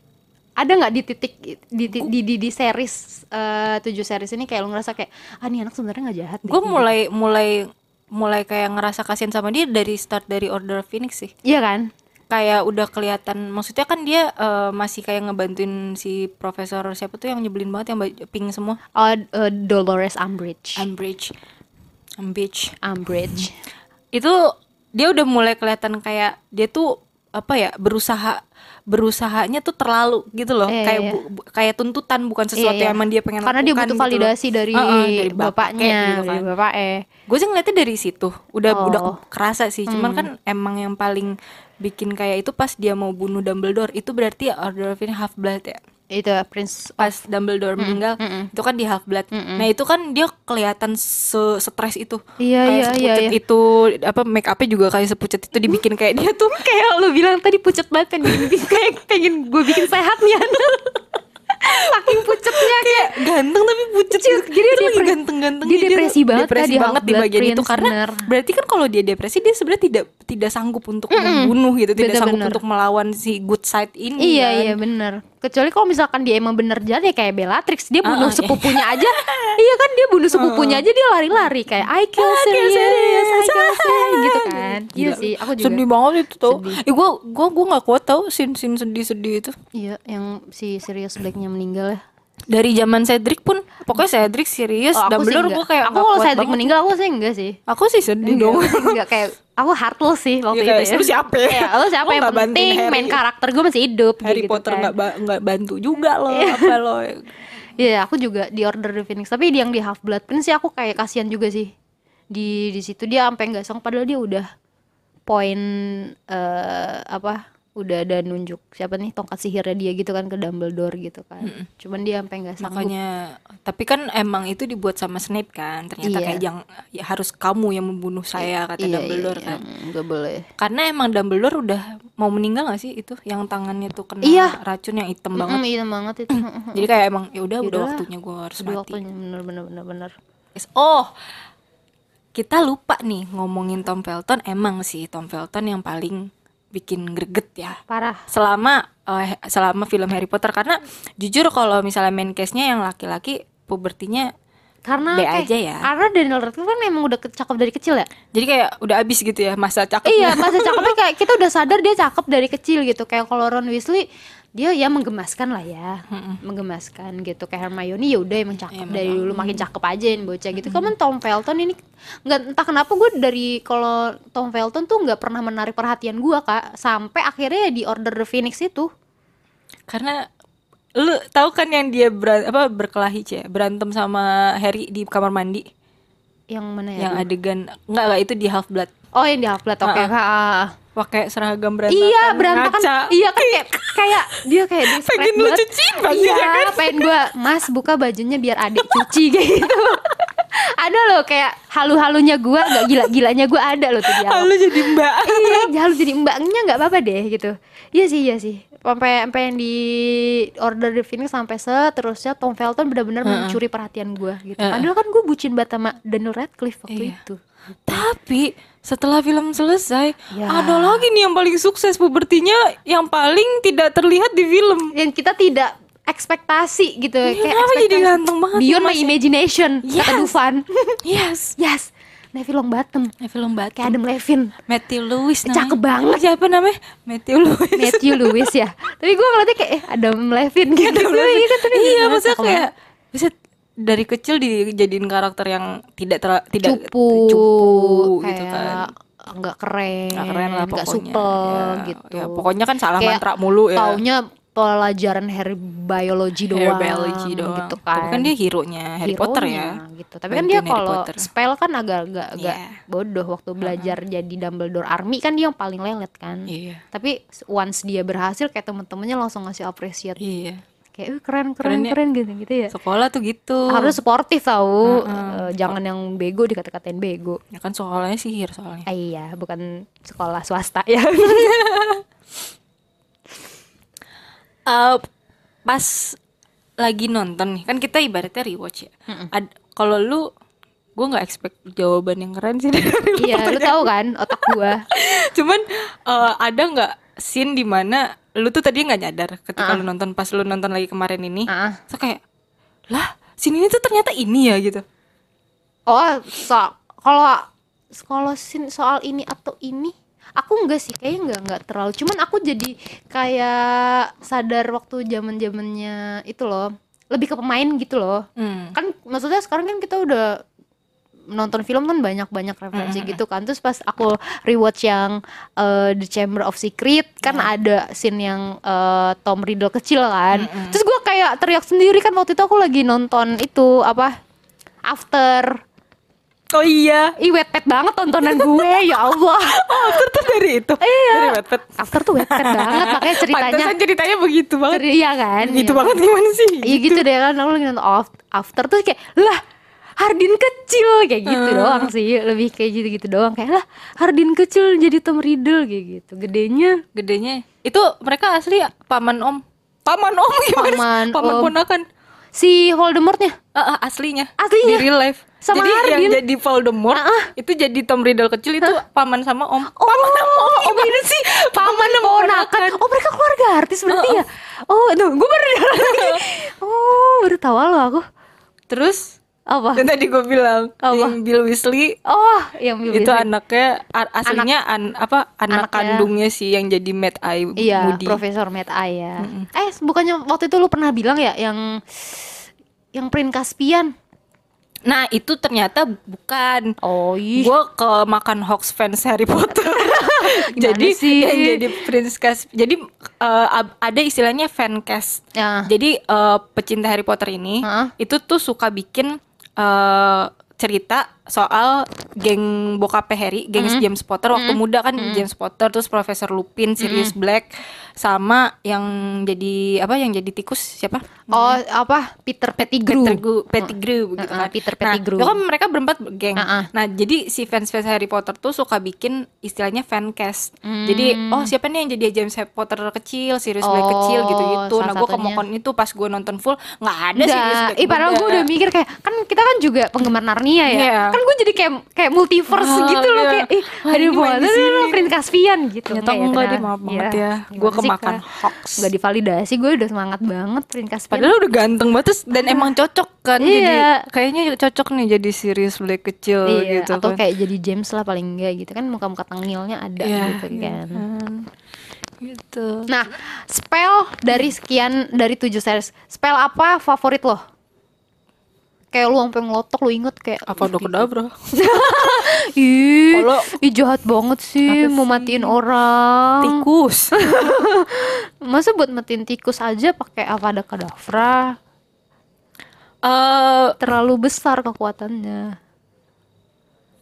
[SPEAKER 2] Ada nggak di titik di di di, di- di series eh, tujuh series ini kayak lu ngerasa kayak ah nih anak sebenarnya nggak jahat deh.
[SPEAKER 3] gue mulai mulai mulai kayak ngerasa kasihan sama dia dari start dari Order of Phoenix sih
[SPEAKER 2] Iya kan?
[SPEAKER 3] kayak udah kelihatan maksudnya kan dia eh, masih kayak ngebantuin si profesor siapa tuh yang nyebelin banget yang baju pink semua
[SPEAKER 2] Oh, eh, Dolores Umbridge.
[SPEAKER 3] Umbridge Umbridge
[SPEAKER 2] Umbridge.
[SPEAKER 3] itu dia udah mulai kelihatan kayak dia tuh apa ya berusaha berusahanya tuh terlalu gitu loh
[SPEAKER 2] Iya,
[SPEAKER 3] kayak
[SPEAKER 2] iya.
[SPEAKER 3] bu- bu- kayak tuntutan bukan sesuatu
[SPEAKER 2] Iya, iya.
[SPEAKER 3] yang emang dia pengen
[SPEAKER 2] Karena dia
[SPEAKER 3] lakukan
[SPEAKER 2] butuh
[SPEAKER 3] gitu loh.
[SPEAKER 2] validasi dari,
[SPEAKER 3] Ah, ah, dari
[SPEAKER 2] bapaknya,
[SPEAKER 3] gitu kan.
[SPEAKER 2] dari bapaknya.
[SPEAKER 3] gue sih ngeliatnya dari situ udah
[SPEAKER 2] Oh. Hmm.
[SPEAKER 3] udah kerasa sih cuman kan emang yang paling bikin kayak itu pas dia mau bunuh Dumbledore itu berarti Order of Phoenix half blood ya
[SPEAKER 2] Itu Prince
[SPEAKER 3] pas Dumbledore
[SPEAKER 2] Hmm,
[SPEAKER 3] meninggal itu kan di half blood nah itu kan dia kelihatan se stres itu
[SPEAKER 2] Iya,
[SPEAKER 3] Kayak
[SPEAKER 2] iya, iya,
[SPEAKER 3] sepucet
[SPEAKER 2] iya.
[SPEAKER 3] itu apa make upnya juga kayak sepucet itu dibikin kayak dia tuh
[SPEAKER 2] kayak lu bilang tadi pucet banget kan bikin, bikin- kayak pengen gue bikin sehat nih anak saking pucetnya kan. kayak
[SPEAKER 3] ganteng tapi pucet
[SPEAKER 2] Ciut,
[SPEAKER 3] gitu.
[SPEAKER 2] jadi
[SPEAKER 3] Itu
[SPEAKER 2] dia
[SPEAKER 3] lagi
[SPEAKER 2] pre-
[SPEAKER 3] ganteng ya, ganteng
[SPEAKER 2] Dia depresi banget, Kak,
[SPEAKER 3] depresi banget
[SPEAKER 2] di
[SPEAKER 3] di
[SPEAKER 2] Half-Blood
[SPEAKER 3] bagian itu
[SPEAKER 2] Prince,
[SPEAKER 3] karena
[SPEAKER 2] bener.
[SPEAKER 3] berarti kan kalau dia depresi dia sebenarnya tidak tidak sanggup untuk membunuh gitu tidak
[SPEAKER 2] Bener,
[SPEAKER 3] sanggup
[SPEAKER 2] bener.
[SPEAKER 3] untuk melawan si good side ini
[SPEAKER 2] Iya
[SPEAKER 3] kan.
[SPEAKER 2] iya bener Kecuali kalau misalkan dia emang bener jalan ya kayak Bellatrix Dia bunuh
[SPEAKER 3] Ah, iya.
[SPEAKER 2] sepupunya aja Iya kan dia bunuh sepupunya aja dia lari-lari Kayak I kill
[SPEAKER 3] Ah,
[SPEAKER 2] serious, I kill serious Gitu kan Iya
[SPEAKER 3] Gila.
[SPEAKER 2] sih aku juga
[SPEAKER 3] sedih banget itu tau
[SPEAKER 2] Sedih.
[SPEAKER 3] eh, gue gua gua nggak kuat tau scene scene sedih sedih itu
[SPEAKER 2] Iya yang si Sirius Blacknya meninggal ya
[SPEAKER 3] dari zaman Cedric pun pokoknya Cedric serius
[SPEAKER 2] Oh,
[SPEAKER 3] dan
[SPEAKER 2] aku sih
[SPEAKER 3] Dumbledore
[SPEAKER 2] enggak.
[SPEAKER 3] gue kayak
[SPEAKER 2] Aku
[SPEAKER 3] nggak
[SPEAKER 2] kalau
[SPEAKER 3] kuat
[SPEAKER 2] Cedric
[SPEAKER 3] banget.
[SPEAKER 2] meninggal aku sih enggak sih
[SPEAKER 3] aku sih sedih
[SPEAKER 2] Enggak,
[SPEAKER 3] dong
[SPEAKER 2] aku enggak Iya. kayak Aku heartless sih waktu
[SPEAKER 3] Iya,
[SPEAKER 2] itu ya
[SPEAKER 3] lu siapa ya?
[SPEAKER 2] Iya, Lu siapa
[SPEAKER 3] Lu
[SPEAKER 2] yang
[SPEAKER 3] nggak bantuin
[SPEAKER 2] penting
[SPEAKER 3] Harry.
[SPEAKER 2] main karakter gue masih hidup
[SPEAKER 3] Harry
[SPEAKER 2] gitu
[SPEAKER 3] Potter
[SPEAKER 2] kan.
[SPEAKER 3] nggak ba- nggak bantu juga loh apa loh
[SPEAKER 2] Iya, aku juga di Order the Phoenix. Tapi yang di Half Blood Prince sih aku kayak kasihan juga sih. Di di situ dia sampai nggak sanggup padahal dia udah poin eh apa? Udah ada nunjuk siapa nih tongkat sihirnya dia gitu kan ke Dumbledore gitu kan. Cuman dia sampai nggak sanggup.
[SPEAKER 3] makanya tapi kan emang itu dibuat sama Snape kan ternyata
[SPEAKER 2] Iya.
[SPEAKER 3] kayak yang ya harus kamu yang membunuh saya kata Dumbledore kan
[SPEAKER 2] Gak iya, boleh.
[SPEAKER 3] karena emang Dumbledore udah mau meninggal gak sih itu yang tangannya tuh kena
[SPEAKER 2] Iya.
[SPEAKER 3] racun yang hitam
[SPEAKER 2] Banget.
[SPEAKER 3] banget
[SPEAKER 2] iya banget itu. Mm-mm.
[SPEAKER 3] jadi kayak emang ya udah udah
[SPEAKER 2] Yaudahlah.
[SPEAKER 3] waktunya gue harus
[SPEAKER 2] Udah
[SPEAKER 3] mati
[SPEAKER 2] waktunya bener bener bener bener.
[SPEAKER 3] Yes. Oh, kita lupa nih ngomongin Tom Felton. Emang sih Tom Felton yang paling bikin greget ya.
[SPEAKER 2] Parah.
[SPEAKER 3] Selama eh, selama film Harry Potter karena jujur kalau misalnya main case-nya yang laki-laki pubertinya
[SPEAKER 2] Karena
[SPEAKER 3] B
[SPEAKER 2] kayak-
[SPEAKER 3] aja ya.
[SPEAKER 2] Karena Daniel Radcliffe kan emang udah cakep dari kecil ya.
[SPEAKER 3] jadi kayak udah abis gitu ya masa
[SPEAKER 2] Iya,
[SPEAKER 3] cakepnya.
[SPEAKER 2] masa cakepnya kayak kita udah sadar dia cakep dari kecil gitu. Kayak kalau Ron Weasley dia ya menggemaskan lah ya, menggemaskan gitu. Kayak Hermione ya udah emang cakep
[SPEAKER 3] Emang
[SPEAKER 2] dari dulu makin cakep aja yang bocah gitu. Cuman Tom Felton ini nggak entah kenapa gue dari kalau Tom Felton tuh nggak pernah menarik perhatian gue kak sampai akhirnya ya di Order the Phoenix itu.
[SPEAKER 3] Karena lu tahu kan yang dia ber- apa berkelahi cie berantem sama Harry di kamar mandi
[SPEAKER 2] Yang mana ya?
[SPEAKER 3] yang adegan enggak enggak itu di Half Blood
[SPEAKER 2] Oh yang di Half-Blood, oke
[SPEAKER 3] Ah,
[SPEAKER 2] ha, ah, ah.
[SPEAKER 3] pakai seragam berantakan
[SPEAKER 2] Iya berantakan
[SPEAKER 3] ngaca.
[SPEAKER 2] Iya kan kayak, kayak Dia kayak dia
[SPEAKER 3] Pengen
[SPEAKER 2] spread
[SPEAKER 3] lu
[SPEAKER 2] banget.
[SPEAKER 3] cuci ya kan? bajunya
[SPEAKER 2] Iya pengen gue Mas buka bajunya biar adik cuci kayak gitu Ada loh kayak Halu-halunya gue Gak gila-gilanya gue ada loh tuh dia
[SPEAKER 3] Ah, lu jadi mbak
[SPEAKER 2] Iya halu jadi mbaknya gak apa-apa deh gitu Iya sih iya sih Sampai, sampai yang di Order the Phoenix Sampai seterusnya Tom Felton benar-benar mencuri perhatian gue gitu
[SPEAKER 3] Heeh.
[SPEAKER 2] Padahal kan gue bucin banget sama Daniel Radcliffe
[SPEAKER 3] Iya.
[SPEAKER 2] waktu itu
[SPEAKER 3] Tapi setelah film selesai,
[SPEAKER 2] Ya.
[SPEAKER 3] ada lagi nih yang paling sukses pubertinya yang paling tidak terlihat di film.
[SPEAKER 2] yang kita tidak ekspektasi gitu kayak
[SPEAKER 3] Iya, kenapa jadi
[SPEAKER 2] ekspektasi
[SPEAKER 3] ganteng banget
[SPEAKER 2] beyond
[SPEAKER 3] ya,
[SPEAKER 2] my
[SPEAKER 3] Mas?
[SPEAKER 2] imagination kata
[SPEAKER 3] Yes.
[SPEAKER 2] Dufan
[SPEAKER 3] Yes.
[SPEAKER 2] yes Neville Longbottom
[SPEAKER 3] film batik.
[SPEAKER 2] kayak Adam Levine
[SPEAKER 3] Matthew Lewis namanya.
[SPEAKER 2] Kan. Cakep banget.
[SPEAKER 3] Siapa namanya? Matthew Lewis.
[SPEAKER 2] Matthew Lewis ya tapi gue ngeliatnya kayak eh, Adam Levine gitu Iya, kan, tapi
[SPEAKER 3] iya,
[SPEAKER 2] gimana,
[SPEAKER 3] maksudnya
[SPEAKER 2] cakep
[SPEAKER 3] kayak bisa dari kecil dijadiin karakter yang tidak ter, tidak
[SPEAKER 2] cupu,
[SPEAKER 3] cupu
[SPEAKER 2] kayak
[SPEAKER 3] gitu kan.
[SPEAKER 2] nggak keren,
[SPEAKER 3] Nggak keren lah
[SPEAKER 2] nggak
[SPEAKER 3] pokoknya.
[SPEAKER 2] supel
[SPEAKER 3] Ya,
[SPEAKER 2] gitu.
[SPEAKER 3] ya, pokoknya kan salah mantra mulu ya.
[SPEAKER 2] Taunya pelajaran Harry biology doang,
[SPEAKER 3] Harry biology doang.
[SPEAKER 2] gitu kan.
[SPEAKER 3] Tapi kan dia hero-nya Harry Potter ya.
[SPEAKER 2] Hero-nya, gitu. Tapi kan
[SPEAKER 3] Bantuin
[SPEAKER 2] dia
[SPEAKER 3] Harry
[SPEAKER 2] kalau
[SPEAKER 3] Potter.
[SPEAKER 2] spell kan agak-agak agak
[SPEAKER 3] Iya.
[SPEAKER 2] bodoh waktu belajar jadi Dumbledore Army kan dia yang paling lelet kan.
[SPEAKER 3] Iya.
[SPEAKER 2] Tapi once dia berhasil kayak temen-temennya langsung ngasih apresiat
[SPEAKER 3] Iya.
[SPEAKER 2] kayak "Wih, keren keren
[SPEAKER 3] Keren ya.
[SPEAKER 2] keren gitu gitu ya.
[SPEAKER 3] Sekolah tuh gitu.
[SPEAKER 2] Harus sportif tahu, Eh, jangan yang bego dikata-katain bego.
[SPEAKER 3] Ya kan soalnya sihir soalnya.
[SPEAKER 2] Ah, iya, bukan sekolah swasta ya.
[SPEAKER 3] Eh, pas lagi nonton nih, kan kita ibaratnya rewatch ya. Ad- Kalau lu gue nggak expect jawaban yang keren sih dari lu.
[SPEAKER 2] iya, lu tahu kan otak gua.
[SPEAKER 3] Cuman eh, ada nggak scene di mana lu tuh tadi nggak nyadar ketika lu nonton pas lu nonton lagi kemarin ini.
[SPEAKER 2] Ah.
[SPEAKER 3] So kayak lah, scene ini tuh ternyata ini ya gitu.
[SPEAKER 2] Oh, so kalau kalau sin- soal ini atau ini, aku enggak sih, kayaknya enggak enggak terlalu. Cuman aku jadi kayak sadar waktu zaman-zamannya itu loh, lebih ke pemain gitu loh.
[SPEAKER 3] Hmm.
[SPEAKER 2] Kan maksudnya sekarang kan kita udah nonton film kan banyak-banyak referensi gitu kan. Terus pas aku rewatch yang eh, The Chamber of Secret kan ada scene yang eh, Tom Riddle kecil kan. Terus gua kayak teriak sendiri kan waktu itu aku lagi nonton itu apa? After
[SPEAKER 3] Oh iya,
[SPEAKER 2] Ih wetpad banget tontonan gue ya Allah
[SPEAKER 3] after tuh dari itu. Iya. Dari Wattpad.
[SPEAKER 2] After tuh wetpad banget makanya ceritanya
[SPEAKER 3] Pantesan ceritanya begitu banget.
[SPEAKER 2] Iya kan
[SPEAKER 3] Gitu
[SPEAKER 2] Iya.
[SPEAKER 3] banget gimana sih?
[SPEAKER 2] Iya gitu deh kan aku lagi nonton Af- After tuh kayak lah Hardin kecil kayak gitu doang sih lebih kayak gitu-gitu doang kayak lah Hardin kecil jadi Tom Riddle kayak gitu gedenya
[SPEAKER 3] gedenya itu mereka asli paman om paman om gimana sih?
[SPEAKER 2] Paman
[SPEAKER 3] paman
[SPEAKER 2] om.
[SPEAKER 3] ponakan
[SPEAKER 2] si Voldemortnya
[SPEAKER 3] Ah, ah, aslinya
[SPEAKER 2] Aslinya?
[SPEAKER 3] di real life
[SPEAKER 2] sama Ah,
[SPEAKER 3] jadi
[SPEAKER 2] Hardy.
[SPEAKER 3] yang jadi Voldemort itu jadi Tom Riddle kecil itu paman sama om.
[SPEAKER 2] Oh, oh, gimana sih? Paman dan ponakan. Oh, mereka keluarga artis berarti ya? Oh, tuh, gue baru dengar lagi. Oh, baru tahu lo aku.
[SPEAKER 3] Terus
[SPEAKER 2] Apa?
[SPEAKER 3] yang tadi gue bilang
[SPEAKER 2] Ah. Apa?
[SPEAKER 3] yang Bill Weasley
[SPEAKER 2] Oh, yang Bill
[SPEAKER 3] itu
[SPEAKER 2] Bixby.
[SPEAKER 3] anaknya a- aslinya an- apa anak
[SPEAKER 2] Anaknya.
[SPEAKER 3] kandungnya sih yang jadi Mad Eye
[SPEAKER 2] Iya,
[SPEAKER 3] Moody.
[SPEAKER 2] Profesor Matt Aya. Eh, bukannya waktu itu lu pernah bilang ya yang yang Prin Caspian?
[SPEAKER 3] Nah itu ternyata bukan.
[SPEAKER 2] Oh, iya.
[SPEAKER 3] Gue ke makan hoax fans Harry Potter.
[SPEAKER 2] Gimana
[SPEAKER 3] jadi
[SPEAKER 2] sih?
[SPEAKER 3] yang jadi Prince Cas- Jadi eh, ab- ada istilahnya fancast.
[SPEAKER 2] Ya.
[SPEAKER 3] Jadi eh, pecinta Harry Potter ini
[SPEAKER 2] Heeh.
[SPEAKER 3] itu tuh suka bikin eh, cerita soal geng bokapnya Harry, geng
[SPEAKER 2] Mm-hmm.
[SPEAKER 3] James Potter waktu muda kan James Potter terus Profesor Lupin, Sirius
[SPEAKER 2] Mm-hmm.
[SPEAKER 3] Black sama yang jadi apa yang jadi tikus siapa?
[SPEAKER 2] Oh, apa? Peter Pettigrew. Oh.
[SPEAKER 3] Pettigrew, Pettigrew gitu
[SPEAKER 2] Heeh,
[SPEAKER 3] kan.
[SPEAKER 2] Peter
[SPEAKER 3] Nah,
[SPEAKER 2] Pettigrew.
[SPEAKER 3] itu kan mereka berempat geng.
[SPEAKER 2] Heeh.
[SPEAKER 3] Nah, jadi si fans-fans Harry Potter tuh suka bikin istilahnya fancast.
[SPEAKER 2] Hmm.
[SPEAKER 3] Jadi, oh siapa nih yang jadi James Potter kecil, Sirius Black
[SPEAKER 2] Oh,
[SPEAKER 3] kecil gitu-gitu. Nah,
[SPEAKER 2] salah
[SPEAKER 3] gue
[SPEAKER 2] satunya.
[SPEAKER 3] kemokon itu pas gue nonton full nggak ada Sirius
[SPEAKER 2] Udah,
[SPEAKER 3] Black.
[SPEAKER 2] ih padahal
[SPEAKER 3] muda.
[SPEAKER 2] gue udah mikir kayak kan kita kan juga penggemar Narnia ya.
[SPEAKER 3] Iya.
[SPEAKER 2] Kan gue jadi kayak kayak multiverse
[SPEAKER 3] Ah,
[SPEAKER 2] gitu loh
[SPEAKER 3] iya.
[SPEAKER 2] kayak ih
[SPEAKER 3] Wah,
[SPEAKER 2] ada
[SPEAKER 3] ini main di
[SPEAKER 2] banget ada
[SPEAKER 3] sini.
[SPEAKER 2] Prince Caspian gitu.
[SPEAKER 3] Ternyata
[SPEAKER 2] Enggak
[SPEAKER 3] enggak deh,
[SPEAKER 2] tenang.
[SPEAKER 3] maaf banget
[SPEAKER 2] Iya.
[SPEAKER 3] ya.
[SPEAKER 2] Gimana
[SPEAKER 3] Gue
[SPEAKER 2] sih,
[SPEAKER 3] kemakan
[SPEAKER 2] Kak?
[SPEAKER 3] hoax.
[SPEAKER 2] Gak divalidasi gue udah semangat banget Prince Caspian.
[SPEAKER 3] Padahal udah ganteng banget terus, dan emang cocok kan jadi
[SPEAKER 2] Iya.
[SPEAKER 3] kayaknya cocok nih jadi Sirius Black kecil
[SPEAKER 2] Iya,
[SPEAKER 3] gitu.
[SPEAKER 2] atau
[SPEAKER 3] kan.
[SPEAKER 2] kayak jadi James lah paling enggak gitu kan muka-muka tengilnya ada
[SPEAKER 3] Iya,
[SPEAKER 2] gitu kan.
[SPEAKER 3] gitu.
[SPEAKER 2] Nah, spell dari sekian dari tujuh series, spell apa favorit lo? Kayak lu sampai ngelotok lu inget kayak
[SPEAKER 3] Apa kedabra?
[SPEAKER 2] Ih,
[SPEAKER 3] Kalau-
[SPEAKER 2] ih jahat banget sih
[SPEAKER 3] Apa
[SPEAKER 2] mau
[SPEAKER 3] sih?
[SPEAKER 2] matiin orang.
[SPEAKER 3] Tikus.
[SPEAKER 2] Masa buat matiin tikus aja pakai Avada Kedavra?
[SPEAKER 3] Eh,
[SPEAKER 2] Terlalu besar kekuatannya.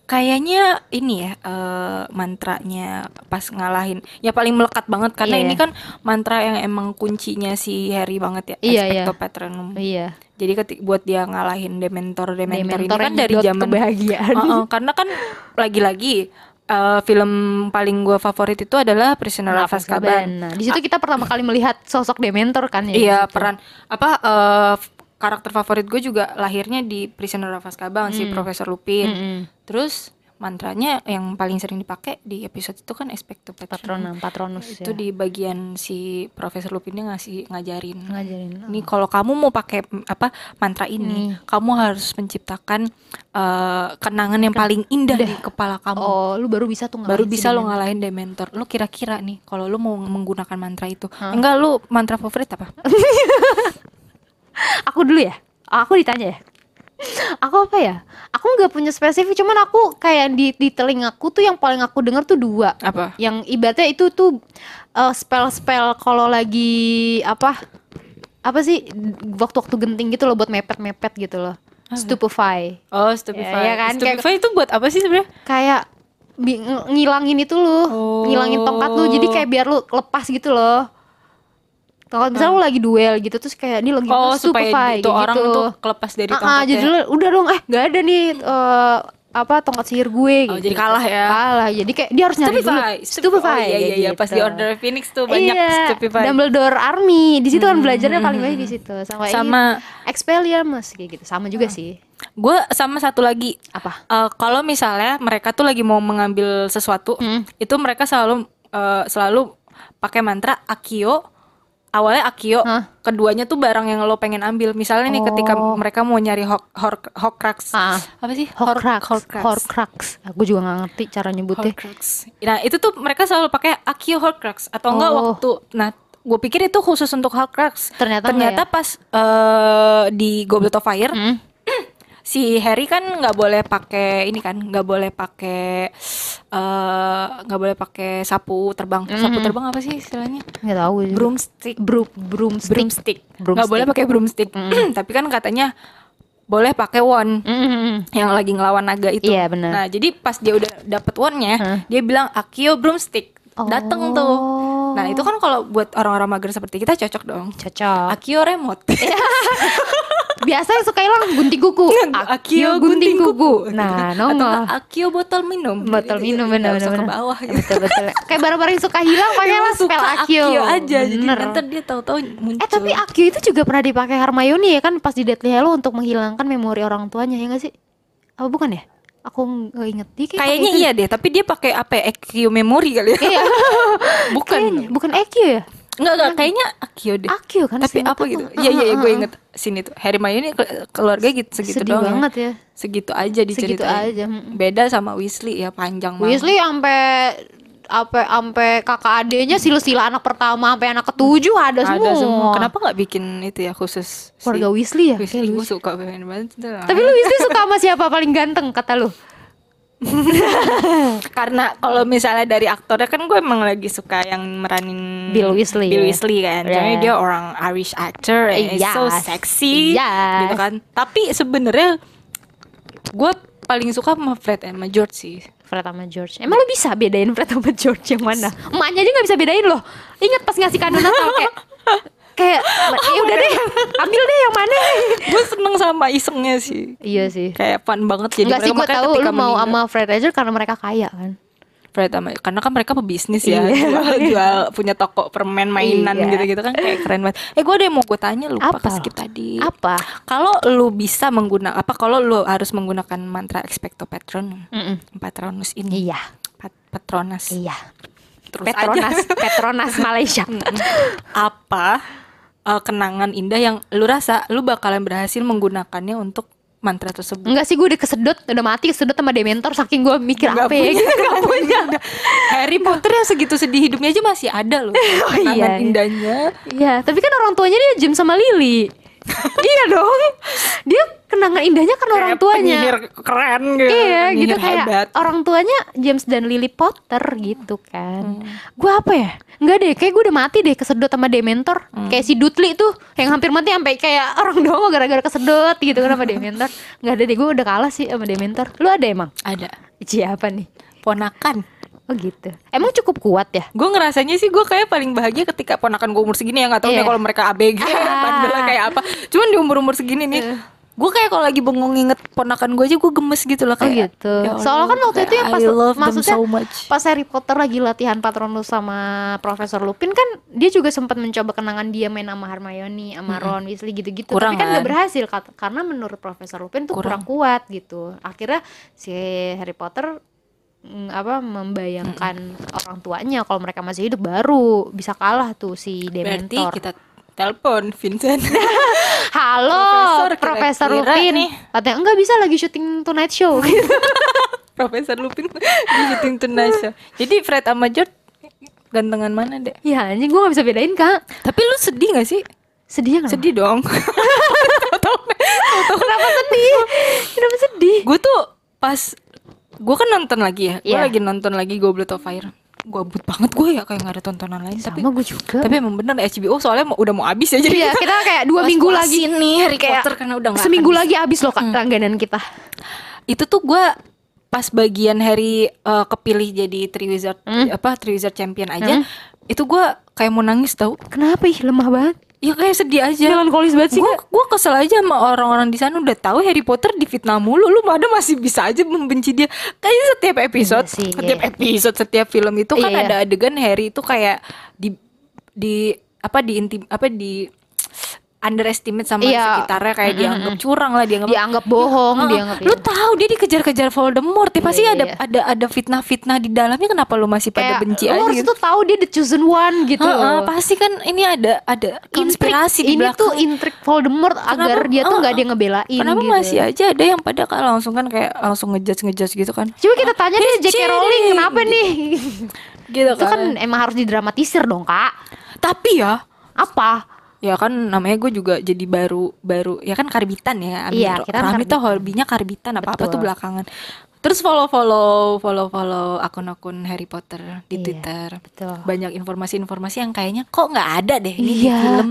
[SPEAKER 3] kayaknya ini ya eh, mantranya pas ngalahin ya paling melekat banget karena
[SPEAKER 2] Iya,
[SPEAKER 3] ini
[SPEAKER 2] iya.
[SPEAKER 3] kan mantra yang emang kuncinya si Harry banget ya
[SPEAKER 2] Iya,
[SPEAKER 3] Expecto
[SPEAKER 2] iya.
[SPEAKER 3] Patronum
[SPEAKER 2] Iya.
[SPEAKER 3] jadi ketik buat dia ngalahin Dementor Dementor,
[SPEAKER 2] Dementor
[SPEAKER 3] ini kan
[SPEAKER 2] yang
[SPEAKER 3] dari
[SPEAKER 2] nyedot
[SPEAKER 3] zaman
[SPEAKER 2] kebahagiaan.
[SPEAKER 3] Heeh, karena kan lagi-lagi eh, film paling gua favorit itu adalah Prisoner of Azkaban
[SPEAKER 2] Nah, di situ kita pertama kali melihat sosok Dementor kan ya.
[SPEAKER 3] Iya peran apa eh, f- karakter favorit gue juga lahirnya di Prisoner of Azkaban si
[SPEAKER 2] Hmm.
[SPEAKER 3] Profesor Lupin.
[SPEAKER 2] Mm-mm.
[SPEAKER 3] Terus mantranya yang paling sering dipakai di episode itu kan Expecto Patronum.
[SPEAKER 2] Patronum, Patronus
[SPEAKER 3] Itu
[SPEAKER 2] ya.
[SPEAKER 3] di bagian si Profesor Lupinnya ngasih ngajarin.
[SPEAKER 2] Ngajarin.
[SPEAKER 3] Nih kalau kamu mau pakai mm, apa mantra ini, kamu harus menciptakan eh, kenangan yang paling indah di kepala kamu.
[SPEAKER 2] Oh, lu baru bisa tuh ngalahin
[SPEAKER 3] Baru
[SPEAKER 2] si
[SPEAKER 3] bisa lo
[SPEAKER 2] Dementor.
[SPEAKER 3] ngalahin Dementor. Lo kira-kira nih kalau lo mau menggunakan mantra itu, enggak lo mantra favorit apa?
[SPEAKER 2] Aku dulu ya. Aku ditanya ya. Aku apa ya? Aku nggak punya spesifik, cuman aku kayak di di telingaku tuh yang paling aku denger tuh dua.
[SPEAKER 3] Apa?
[SPEAKER 2] yang ibaratnya itu tuh eh, spell-spell kalau lagi apa apa sih waktu-waktu genting gitu loh buat mepet-mepet gitu loh
[SPEAKER 3] ya?
[SPEAKER 2] stupefy
[SPEAKER 3] Oh, stupefy.
[SPEAKER 2] Ya, ya kan?
[SPEAKER 3] Stupefy itu buat apa sih sebenarnya?
[SPEAKER 2] kayak bi- ng- ngilangin itu loh
[SPEAKER 3] Oh.
[SPEAKER 2] ngilangin tongkat lu jadi kayak biar lu lepas gitu loh tongkat misalnya lu lagi duel gitu terus kayak ini lagi
[SPEAKER 3] Nah. Oh,
[SPEAKER 2] apa,
[SPEAKER 3] supaya
[SPEAKER 2] stupefy,
[SPEAKER 3] itu
[SPEAKER 2] kayak
[SPEAKER 3] orang
[SPEAKER 2] gitu.
[SPEAKER 3] tuh kelepas dari
[SPEAKER 2] Ah, ah,
[SPEAKER 3] tongkatnya.
[SPEAKER 2] jadi lu udah dong eh nggak ada nih eh, apa tongkat sihir gue
[SPEAKER 3] Oh,
[SPEAKER 2] gitu.
[SPEAKER 3] jadi kalah ya.
[SPEAKER 2] kalah jadi kayak dia harus nyari dulu
[SPEAKER 3] Stupefy. Stupefy.
[SPEAKER 2] Stupefy,
[SPEAKER 3] Oh, iya
[SPEAKER 2] kayak
[SPEAKER 3] iya iya pas di
[SPEAKER 2] gitu. Iya,
[SPEAKER 3] Order of Phoenix tuh banyak Stupefy. Hmm.
[SPEAKER 2] Dumbledore Army. Di situ kan belajarnya paling banyak di situ. Sama,
[SPEAKER 3] Sama- Ah.
[SPEAKER 2] ini, Expelliarmus kayak gitu. Sama juga sih.
[SPEAKER 3] Gue sama satu lagi.
[SPEAKER 2] Apa?
[SPEAKER 3] Eh, kalau misalnya mereka tuh lagi mau mengambil sesuatu,
[SPEAKER 2] Hmm.
[SPEAKER 3] itu mereka selalu eh, selalu pakai mantra Akio. Awalnya Akio,
[SPEAKER 2] Hah?
[SPEAKER 3] keduanya tuh barang yang lo pengen ambil. Misalnya nih ketika
[SPEAKER 2] Oh.
[SPEAKER 3] mereka mau nyari hok, hor- Horcrux.
[SPEAKER 2] Ah.
[SPEAKER 3] Apa sih? Hor-
[SPEAKER 2] Horcrux. Horcrux. Aku juga nggak ngerti cara nyebutnya.
[SPEAKER 3] Horcrux. Nah itu tuh mereka selalu pakai Akio Horcrux atau enggak
[SPEAKER 2] Oh.
[SPEAKER 3] waktu. Nah gue pikir itu khusus untuk Horcrux.
[SPEAKER 2] Ternyata enggak ya?
[SPEAKER 3] pas eh, di Goblet of Fire
[SPEAKER 2] Hmm.
[SPEAKER 3] si Harry kan nggak boleh pakai ini kan nggak boleh pakai eh, nggak boleh pakai sapu terbang. Sapu terbang apa sih istilahnya?
[SPEAKER 2] ya? Nggak tahu. sih.
[SPEAKER 3] Broomstick.
[SPEAKER 2] Broom. Hmm. Broomstick.
[SPEAKER 3] Broomstick. Nggak
[SPEAKER 2] Broomstick. Hmm.
[SPEAKER 3] boleh pakai broomstick. Tapi kan katanya boleh pakai wand
[SPEAKER 2] Mm-mm.
[SPEAKER 3] yang lagi ngelawan naga itu.
[SPEAKER 2] Iya, benar.
[SPEAKER 3] Nah, jadi pas dia udah dapet wandnya, dia bilang Akio broomstick. Dateng tuh. Nah, itu kan kalau buat orang-orang mager seperti kita cocok dong.
[SPEAKER 2] Cocok.
[SPEAKER 3] Akio remote.
[SPEAKER 2] Biasanya suka hilang gunting kuku.
[SPEAKER 3] Akio gunting kuku.
[SPEAKER 2] Nah,
[SPEAKER 3] Atau nggak
[SPEAKER 2] nongol.
[SPEAKER 3] Akio botol minum.
[SPEAKER 2] Botol
[SPEAKER 3] Jadi
[SPEAKER 2] minum
[SPEAKER 3] dia nggak usah
[SPEAKER 2] benar-benar.
[SPEAKER 3] ke bawah gitu.
[SPEAKER 2] Betul-betul. Kayak barang-barang yang suka hilang pakai
[SPEAKER 3] Dia
[SPEAKER 2] lah
[SPEAKER 3] suka
[SPEAKER 2] spell Akio.
[SPEAKER 3] aja. Jadi
[SPEAKER 2] Bener.
[SPEAKER 3] nanti dia tahu-tahu muncul.
[SPEAKER 2] Eh tapi Akio itu juga pernah dipakai Hermione ya kan pas di Deathly Hallows untuk menghilangkan memori orang tuanya ya gak sih? apa bukan ya aku nggak inget dia kayak
[SPEAKER 3] Kayaknya
[SPEAKER 2] pakai itu
[SPEAKER 3] iya deh, tapi dia pakai apa? ya, AQ memory kali ya?
[SPEAKER 2] Iya.
[SPEAKER 3] Bukan.
[SPEAKER 2] Kayaknya. bukan EQ ya
[SPEAKER 3] Enggak, enggak, kayaknya AQ deh.
[SPEAKER 2] AQ kan
[SPEAKER 3] tapi
[SPEAKER 2] seinget
[SPEAKER 3] apa
[SPEAKER 2] aku.
[SPEAKER 3] gitu? Iya, iya, iya, gue
[SPEAKER 2] Heeh,
[SPEAKER 3] inget sini tuh. Harry Hermione ke- keluarga gitu segitu
[SPEAKER 2] Ah, sedih
[SPEAKER 3] doang. ya.
[SPEAKER 2] banget ya
[SPEAKER 3] Segitu aja diceritain.
[SPEAKER 2] segitu aja mm.
[SPEAKER 3] Beda sama Weasley ya, panjang banget.
[SPEAKER 2] Weasley sampai apa sampai kakak adenya silsila anak pertama sampai anak ketujuh ada, semua.
[SPEAKER 3] Ada semua. Kenapa nggak bikin itu ya khusus si
[SPEAKER 2] keluarga Weasley ya?
[SPEAKER 3] Weasley?
[SPEAKER 2] Kayak
[SPEAKER 3] Gue
[SPEAKER 2] Weasley.
[SPEAKER 3] suka banget. tuh.
[SPEAKER 2] Tapi lu Weasley suka sama siapa paling ganteng kata lu?
[SPEAKER 3] karena kalau misalnya dari aktornya kan gue emang lagi suka yang meranin
[SPEAKER 2] Bill Weasley,
[SPEAKER 3] Bill
[SPEAKER 2] ya.
[SPEAKER 3] Weasley kan. Jadi
[SPEAKER 2] Right.
[SPEAKER 3] dia orang Irish actor, and it's so
[SPEAKER 2] Yes.
[SPEAKER 3] sexy
[SPEAKER 2] Yes.
[SPEAKER 3] gitu kan. Tapi sebenarnya gue paling suka sama Fred sama George sih.
[SPEAKER 2] Fred sama George. Emang lu bisa bedain Fred sama George yang mana? Emaknya aja nggak bisa bedain loh. Ingat pas ngasih kado Natal kayak kayak "Eh, udah deh, ambil deh yang mana.
[SPEAKER 3] Gue seneng sama isengnya sih.
[SPEAKER 2] iya sih.
[SPEAKER 3] Kayak fun banget jadi
[SPEAKER 2] Enggak sih
[SPEAKER 3] mereka
[SPEAKER 2] gue
[SPEAKER 3] makanya
[SPEAKER 2] tahu
[SPEAKER 3] ketika
[SPEAKER 2] lu mau
[SPEAKER 3] meninggal-
[SPEAKER 2] sama Fred aja karena mereka kaya kan.
[SPEAKER 3] Fred sama karena kan mereka pebisnis ya
[SPEAKER 2] Iya.
[SPEAKER 3] jual, jual punya toko permen mainan
[SPEAKER 2] Iya.
[SPEAKER 3] gitu-gitu kan kayak keren banget. Eh gue ada yang mau gue tanya lupa
[SPEAKER 2] Apa?
[SPEAKER 3] pas skip tadi.
[SPEAKER 2] Apa?
[SPEAKER 3] Kalau lu bisa menggunakan apa kalau lu harus menggunakan mantra expecto patronum
[SPEAKER 2] Mm-mm.
[SPEAKER 3] patronus ini
[SPEAKER 2] Iya,
[SPEAKER 3] pat- patronas
[SPEAKER 2] iya.
[SPEAKER 3] terus
[SPEAKER 2] Petronas,
[SPEAKER 3] aja
[SPEAKER 2] Petronas Malaysia.
[SPEAKER 3] apa eh, kenangan indah yang lu rasa lu bakalan berhasil menggunakannya untuk mantra tersebut
[SPEAKER 2] Enggak sih gue udah kesedot, udah mati kesedot sama dementor saking gue mikir
[SPEAKER 3] Nggak
[SPEAKER 2] apa ya
[SPEAKER 3] punya, nggak punya. Harry Potter yang segitu sedih hidupnya aja masih ada loh kenangan
[SPEAKER 2] iya, iya.
[SPEAKER 3] indahnya
[SPEAKER 2] Iya, tapi kan orang tuanya dia Jim sama Lily. iya dong. Dia kenangan indahnya kan orang
[SPEAKER 3] Kayak
[SPEAKER 2] tuanya.
[SPEAKER 3] penyihir keren gitu
[SPEAKER 2] Iya, gitu
[SPEAKER 3] penyihir
[SPEAKER 2] kayak
[SPEAKER 3] hebat.
[SPEAKER 2] orang tuanya James dan Lily Potter gitu kan. Gue apa ya? Enggak deh, kayak gue udah mati deh kesedot sama Dementor. Kayak si Dudley tuh yang hampir mati sampai kayak orang doang gara-gara kesedot gitu kan sama Dementor. Enggak ada deh, gue udah kalah sih sama Dementor. Lu ada emang?
[SPEAKER 3] ada
[SPEAKER 2] Siapa nih?
[SPEAKER 3] ponakan
[SPEAKER 2] Oh gitu. Emang cukup kuat ya?
[SPEAKER 3] gue ngerasanya sih gue kayak paling bahagia ketika ponakan gue umur segini ya nggak tahu
[SPEAKER 2] Iya.
[SPEAKER 3] deh kalau mereka abg
[SPEAKER 2] Ah. Iya.
[SPEAKER 3] bandelnya kayak apa cuman di umur umur segini nih gue kayak kalau lagi bengong inget ponakan gue aja gue gemes gitu loh
[SPEAKER 2] Oh
[SPEAKER 3] kayak
[SPEAKER 2] gitu.
[SPEAKER 3] ya Allah,
[SPEAKER 2] Soalnya kan waktu
[SPEAKER 3] kayak
[SPEAKER 2] itu yang pas
[SPEAKER 3] I love them
[SPEAKER 2] maksudnya
[SPEAKER 3] so much
[SPEAKER 2] pas Harry Potter lagi latihan Patronus sama Profesor Lupin kan dia juga sempat mencoba kenangan dia main sama Hermione, sama Ron Weasley gitu-gitu.
[SPEAKER 3] Kurang
[SPEAKER 2] Tapi kan nggak
[SPEAKER 3] kan?
[SPEAKER 2] berhasil kat- karena menurut Profesor Lupin tuh kurang.
[SPEAKER 3] Kurang.
[SPEAKER 2] kuat gitu. Akhirnya si Harry Potter mm, apa membayangkan orang tuanya kalau mereka masih hidup baru bisa kalah tuh si
[SPEAKER 3] berarti
[SPEAKER 2] Dementor.
[SPEAKER 3] kita telepon Vincent
[SPEAKER 2] Halo,
[SPEAKER 3] Profesor,
[SPEAKER 2] Profesor
[SPEAKER 3] kira-kira
[SPEAKER 2] Lupin.
[SPEAKER 3] nih.
[SPEAKER 2] Katanya enggak bisa lagi syuting Tonight Show.
[SPEAKER 3] Profesor Lupin di syuting Tonight Show. jadi Fred sama George gantengan mana deh
[SPEAKER 2] ya anjing gue gak bisa bedain kak.
[SPEAKER 3] tapi lu sedih gak sih
[SPEAKER 2] Sedih ya kenapa?
[SPEAKER 3] sedih dong
[SPEAKER 2] Kenapa sedih? Kenapa sedih?
[SPEAKER 3] gue tuh pas gue kan nonton lagi ya gue
[SPEAKER 2] Iya.
[SPEAKER 3] lagi nonton lagi Goblet of Fire gue abut banget gue ya kayak nggak ada tontonan lain tapi
[SPEAKER 2] Sama gue juga.
[SPEAKER 3] tapi emang bener HBO soalnya mau, udah mau habis ya jadi
[SPEAKER 2] Iya, kita kayak dua
[SPEAKER 3] Pas
[SPEAKER 2] minggu
[SPEAKER 3] puas
[SPEAKER 2] lagi.
[SPEAKER 3] ini Harry
[SPEAKER 2] Kayak
[SPEAKER 3] Potter karena udah nggak
[SPEAKER 2] Seminggu
[SPEAKER 3] akan Hmm.
[SPEAKER 2] lagi habis loh kak langganan kita.
[SPEAKER 3] bisa. itu tuh gue pas bagian Harry eh, kepilih jadi Three Wizard
[SPEAKER 2] Hmm.
[SPEAKER 3] apa Three Wizard Champion aja itu gue kayak mau nangis tau
[SPEAKER 2] Kenapa ih lemah banget?
[SPEAKER 3] ya kayak sedih aja
[SPEAKER 2] Melankolis banget sih.
[SPEAKER 3] gue
[SPEAKER 2] Kak.
[SPEAKER 3] gue kesel aja sama orang-orang di sana udah tahu Harry Potter difitnah mulu lu ada masih bisa aja membenci dia kayaknya setiap episode
[SPEAKER 2] Iya sih,
[SPEAKER 3] setiap
[SPEAKER 2] iya.
[SPEAKER 3] episode setiap film itu kan
[SPEAKER 2] Iya.
[SPEAKER 3] ada adegan Harry itu kayak di di apa di intim apa di underestimate sama
[SPEAKER 2] Iya.
[SPEAKER 3] sekitarnya kayak dianggap curang lah dianggap
[SPEAKER 2] Dianggap bohong,
[SPEAKER 3] Heeh.
[SPEAKER 2] dianggap
[SPEAKER 3] lu tahu dia ya. dikejar-kejar Voldemort ya pasti
[SPEAKER 2] Iya,
[SPEAKER 3] ada
[SPEAKER 2] iya.
[SPEAKER 3] ada ada fitnah-fitnah di dalamnya kenapa lu masih pada
[SPEAKER 2] kayak
[SPEAKER 3] benci
[SPEAKER 2] lu
[SPEAKER 3] aja
[SPEAKER 2] harus
[SPEAKER 3] gitu
[SPEAKER 2] tuh tahu dia the chosen one gitu.
[SPEAKER 3] Heeh,
[SPEAKER 2] loh.
[SPEAKER 3] pasti kan ini ada ada konspirasi
[SPEAKER 2] Intrik-
[SPEAKER 3] di
[SPEAKER 2] ini
[SPEAKER 3] belakang
[SPEAKER 2] tuh intrik Voldemort agar dia tuh
[SPEAKER 3] oh,
[SPEAKER 2] nggak ada yang ngebelain
[SPEAKER 3] Kenapa
[SPEAKER 2] gitu.
[SPEAKER 3] masih aja ada yang pada kan langsung kan kayak langsung ngejudge ngejudge gitu kan?
[SPEAKER 2] Coba kita tanya deh
[SPEAKER 3] He's
[SPEAKER 2] J.K. Rowling
[SPEAKER 3] cheating.
[SPEAKER 2] kenapa nih?
[SPEAKER 3] Gitu
[SPEAKER 2] Itu kan emang harus didramatisir dong kak.
[SPEAKER 3] Tapi ya,
[SPEAKER 2] Apa?
[SPEAKER 3] ya kan namanya gue juga jadi baru baru ya kan karbitan ya. Ambil-
[SPEAKER 2] Iya, kita kan
[SPEAKER 3] Rami tuh hobinya karbitan apa apa tuh
[SPEAKER 2] Betul.
[SPEAKER 3] belakangan. Terus follow follow follow follow akun-akun Harry Potter di
[SPEAKER 2] Iya,
[SPEAKER 3] Twitter.
[SPEAKER 2] betul.
[SPEAKER 3] Banyak informasi-informasi yang kayaknya kok nggak ada deh ini
[SPEAKER 2] Iya.
[SPEAKER 3] di film,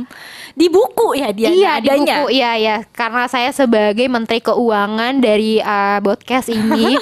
[SPEAKER 3] di buku ya dia
[SPEAKER 2] iya, di
[SPEAKER 3] adanya.
[SPEAKER 2] buku. Iya, iya. Karena saya sebagai menteri keuangan dari eh, podcast ini,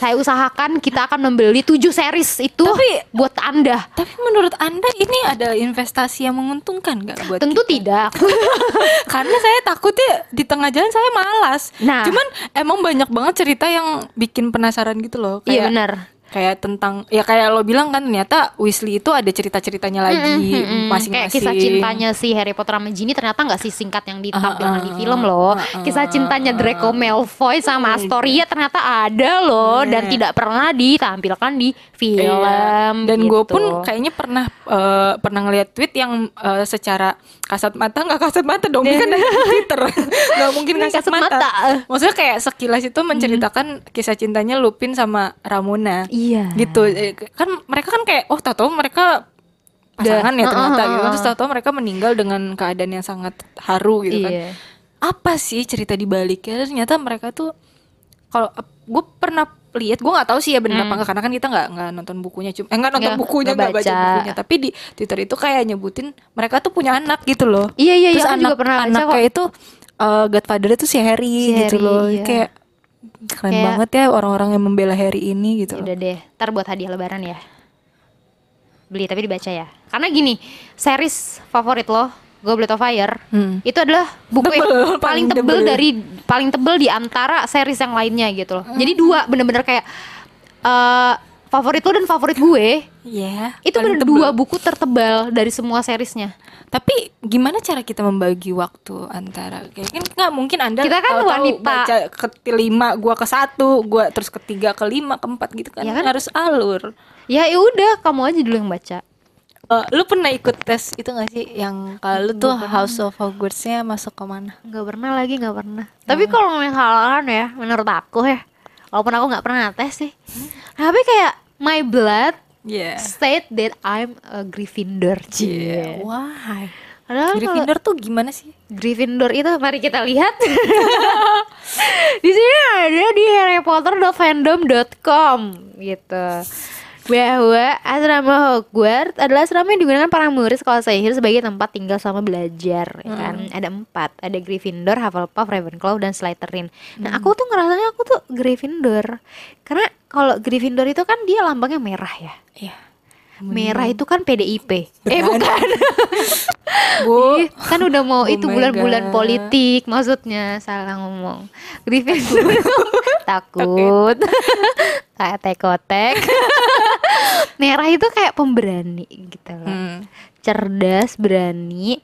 [SPEAKER 2] saya usahakan kita akan membeli 7 series itu
[SPEAKER 3] Tapi-
[SPEAKER 2] buat Anda.
[SPEAKER 3] Tapi menurut anda ini ada investasi yang menguntungkan nggak buat
[SPEAKER 2] Tentu
[SPEAKER 3] kita?
[SPEAKER 2] tidak. iya,
[SPEAKER 3] karena saya takutnya di tengah jalan saya malas.
[SPEAKER 2] Nah.
[SPEAKER 3] Cuman emang banyak banget cerita yang bikin penasaran gitu loh. Kayak
[SPEAKER 2] Iya benar.
[SPEAKER 3] kayak tentang ya kayak lo bilang kan ternyata Weasley itu ada cerita-ceritanya lagi
[SPEAKER 2] Mm-mm, mm-mm.
[SPEAKER 3] masing-masing.
[SPEAKER 2] Kayak kisah cintanya si Harry Potter sama Ginny ternyata nggak singkat yang
[SPEAKER 3] Ah,
[SPEAKER 2] ditampilkan di film loh. Kisah cintanya Draco Malfoy sama
[SPEAKER 3] Iya.
[SPEAKER 2] Astoria ternyata ada loh dan tidak pernah ditampilkan di
[SPEAKER 3] Iya.
[SPEAKER 2] film.
[SPEAKER 3] Dan gue
[SPEAKER 2] gitu.
[SPEAKER 3] pun kayaknya pernah eh, pernah ngeliat tweet yang eh, secara kasat mata nggak kasat mata dong, ini kan dari Twitter, nggak mungkin kasat,
[SPEAKER 2] Kasat
[SPEAKER 3] mata.
[SPEAKER 2] mata. Mm-hmm.
[SPEAKER 3] Maksudnya kayak sekilas itu menceritakan kisah cintanya Lupin sama Ramona.
[SPEAKER 2] iya.
[SPEAKER 3] gitu Eh, kan mereka kan kayak oh tahu mereka pasangan ya
[SPEAKER 2] Udah.
[SPEAKER 3] ternyata
[SPEAKER 2] Heeh,
[SPEAKER 3] gitu
[SPEAKER 2] heeh,
[SPEAKER 3] terus tahu mereka meninggal dengan keadaan yang sangat haru gitu kan
[SPEAKER 2] Iya.
[SPEAKER 3] apa sih cerita di baliknya ternyata mereka tuh kalau gue pernah lihat gue nggak tahu sih ya bener apa nggak, karena kan kita nggak nggak nonton bukunya cuma eh, nggak nonton
[SPEAKER 2] Hmm. Nggak,
[SPEAKER 3] bukunya
[SPEAKER 2] nggak
[SPEAKER 3] nggak baca.
[SPEAKER 2] baca.
[SPEAKER 3] bukunya tapi di twitter itu kayak nyebutin mereka tuh punya anak gitu loh
[SPEAKER 2] Iya iya
[SPEAKER 3] terus
[SPEAKER 2] iya, aku
[SPEAKER 3] anak
[SPEAKER 2] juga pernah baca
[SPEAKER 3] anak
[SPEAKER 2] kok.
[SPEAKER 3] kayak itu eh, godfather itu si Harry
[SPEAKER 2] Si
[SPEAKER 3] gitu
[SPEAKER 2] Harry,
[SPEAKER 3] loh
[SPEAKER 2] iya.
[SPEAKER 3] kayak keren
[SPEAKER 2] Kayak-
[SPEAKER 3] banget ya orang-orang yang membela Harry ini gitu loh.
[SPEAKER 2] Udah deh, ntar buat hadiah lebaran ya. Beli tapi dibaca ya. Karena gini, series favorit lo, Goblet of Fire,
[SPEAKER 3] Hmm.
[SPEAKER 2] itu adalah buku yang
[SPEAKER 3] Tebel,
[SPEAKER 2] paling,
[SPEAKER 3] paling
[SPEAKER 2] tebel
[SPEAKER 3] tebel.
[SPEAKER 2] dari paling tebel di antara series yang lainnya gitu loh. Jadi dua bener-bener kayak eh favorit lo dan favorit gue
[SPEAKER 3] Iya.
[SPEAKER 2] itu
[SPEAKER 3] paling
[SPEAKER 2] bener
[SPEAKER 3] tebel.
[SPEAKER 2] dua buku tertebal dari semua seriesnya.
[SPEAKER 3] Tapi gimana cara kita membagi waktu antara kayak kan nggak mungkin Anda
[SPEAKER 2] Kita kan
[SPEAKER 3] tahu-tahu
[SPEAKER 2] wanita.
[SPEAKER 3] baca ke lima, gua ke satu, gua terus ketiga, kelima, keempat gitu kan.
[SPEAKER 2] Ya kan?
[SPEAKER 3] Harus alur.
[SPEAKER 2] Ya ya udah, kamu aja dulu yang baca.
[SPEAKER 3] Eh, lu pernah ikut tes itu gak sih yang kalau lu tuh House of Hogwarts-nya masuk ke mana?
[SPEAKER 2] Nggak pernah lagi, nggak pernah. Nah, Tapi kalau ngomongin hal-hal ya, menurut aku ya, walaupun aku nggak pernah tes sih, Hmm. tapi kayak my blood
[SPEAKER 3] Iya.
[SPEAKER 2] state that I'm a Gryffindor.
[SPEAKER 3] Yeah.
[SPEAKER 2] Cie.
[SPEAKER 3] Why?
[SPEAKER 2] Padahal kalau
[SPEAKER 3] Gryffindor tuh gimana sih?
[SPEAKER 2] Gryffindor itu mari kita lihat. di sini ada di harrypotter.fandom.com gitu. Bahwa asrama Hogwarts adalah asrama yang digunakan para murid sekolah sihir sebagai tempat tinggal selama belajar, ya kan? Ada empat, ada Gryffindor, Hufflepuff, Ravenclaw, dan Slytherin. Nah, aku tuh ngerasanya aku tuh Gryffindor, karena kalau Gryffindor itu kan dia lambangnya merah ya.
[SPEAKER 3] Iya.
[SPEAKER 2] Merah itu kan PDIP. Eh bukan.
[SPEAKER 3] Bu,
[SPEAKER 2] Ih, kan udah mau
[SPEAKER 3] Oh
[SPEAKER 2] itu
[SPEAKER 3] my
[SPEAKER 2] bulan-bulan
[SPEAKER 3] God.
[SPEAKER 2] politik maksudnya salah ngomong Gryffindor takut kayak tekotek merah itu kayak pemberani gitu loh
[SPEAKER 3] Hmm.
[SPEAKER 2] cerdas berani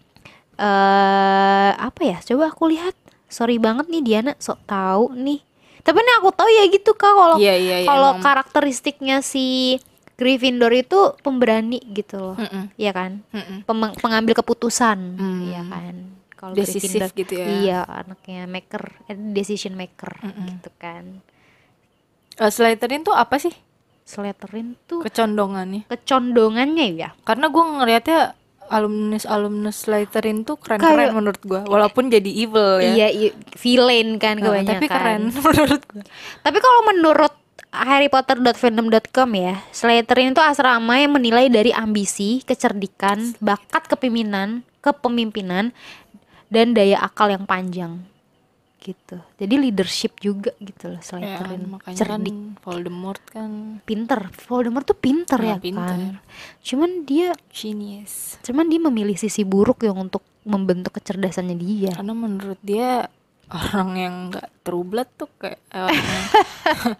[SPEAKER 2] eh apa ya coba aku lihat sorry banget nih Diana sok tahu nih tapi ini aku tahu ya gitu kak kalau
[SPEAKER 3] Iya, iya, iya,
[SPEAKER 2] kalau
[SPEAKER 3] emang.
[SPEAKER 2] karakteristiknya si Gryffindor itu pemberani gitu loh
[SPEAKER 3] Mm-mm.
[SPEAKER 2] Iya kan
[SPEAKER 3] Mm-mm.
[SPEAKER 2] Pemeng- pengambil keputusan
[SPEAKER 3] Hmm.
[SPEAKER 2] iya kan kalau
[SPEAKER 3] Decisif
[SPEAKER 2] Gryffindor-
[SPEAKER 3] gitu ya.
[SPEAKER 2] iya anaknya maker eh, decision maker gitu kan
[SPEAKER 3] Eh, Slytherin tuh apa sih
[SPEAKER 2] Slytherin tuh
[SPEAKER 3] kecondongannya?
[SPEAKER 2] kecondongannya ya
[SPEAKER 3] karena gue ngelihatnya alumnus alumnus Slytherin tuh keren keren
[SPEAKER 2] Kayak-
[SPEAKER 3] menurut gue walaupun jadi evil ya
[SPEAKER 2] iya i- villain kan
[SPEAKER 3] Nah,
[SPEAKER 2] kebanyakan
[SPEAKER 3] tapi keren menurut gue
[SPEAKER 2] Tapi kalau menurut harrypotter.fandom.com ya, Slytherin itu asrama yang menilai dari ambisi, kecerdikan, bakat kepemimpinan, kepemimpinan dan daya akal yang panjang. Gitu. Jadi leadership juga gitu loh
[SPEAKER 3] ya,
[SPEAKER 2] Slytherin.
[SPEAKER 3] makanya
[SPEAKER 2] Cerdik,
[SPEAKER 3] kan Voldemort kan
[SPEAKER 2] pinter. Voldemort tuh pinter
[SPEAKER 3] Ah,
[SPEAKER 2] ya kan.
[SPEAKER 3] pinter.
[SPEAKER 2] Cuman dia
[SPEAKER 3] genius
[SPEAKER 2] cuman dia memilih sisi buruk yang untuk membentuk kecerdasannya dia.
[SPEAKER 3] karena menurut dia orang yang nggak true blood tuh kayak eh, orang yang-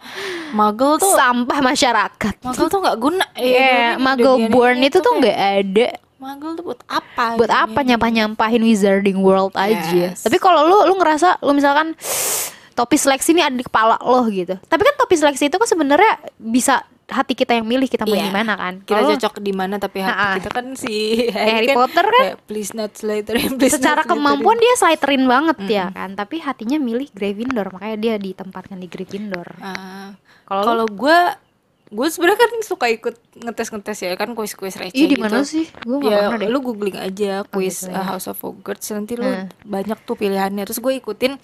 [SPEAKER 3] muggle tuh
[SPEAKER 2] Sampah masyarakat.
[SPEAKER 3] muggle tuh nggak guna Eh,
[SPEAKER 2] Iya,
[SPEAKER 3] Dia- dia-
[SPEAKER 2] Muggle
[SPEAKER 3] dia-
[SPEAKER 2] born
[SPEAKER 3] dia
[SPEAKER 2] itu tuh
[SPEAKER 3] kayak,
[SPEAKER 2] nggak ada.
[SPEAKER 3] muggle tuh buat apa
[SPEAKER 2] buat
[SPEAKER 3] gitu,
[SPEAKER 2] apa
[SPEAKER 3] dia-
[SPEAKER 2] nyampah-nyampahin Wizarding World aja.
[SPEAKER 3] Yes.
[SPEAKER 2] Tapi kalau lu lu ngerasa lu misalkan topi seleksi ini ada di kepala lo gitu. Tapi kan topi seleksi itu kan sebenarnya bisa hati kita yang milih kita mau
[SPEAKER 3] Iya.
[SPEAKER 2] gimana kan.
[SPEAKER 3] kita
[SPEAKER 2] Kalau
[SPEAKER 3] cocok di mana tapi hati
[SPEAKER 2] Ha-ha.
[SPEAKER 3] kita kan si
[SPEAKER 2] Ah. Harry Potter kan
[SPEAKER 3] kayak, please not Slytherin please not
[SPEAKER 2] secara
[SPEAKER 3] Slytherin."
[SPEAKER 2] kemampuan dia Slytherin banget ya kan, tapi hatinya milih Gryffindor makanya dia ditempatkan di Gryffindor.
[SPEAKER 3] Ah.
[SPEAKER 2] Kalau lu-
[SPEAKER 3] kalau gue gue sebenarnya kan suka ikut ngetes ngetes ya kan kuis kuis receh
[SPEAKER 2] Ih, di
[SPEAKER 3] gitu.
[SPEAKER 2] mana sih? Gua nggak
[SPEAKER 3] ya
[SPEAKER 2] pernah deh.
[SPEAKER 3] lu googling aja kuis
[SPEAKER 2] gitu
[SPEAKER 3] uh, House of Hogwarts nanti lu
[SPEAKER 2] Nah.
[SPEAKER 3] banyak tuh pilihannya terus gue ikutin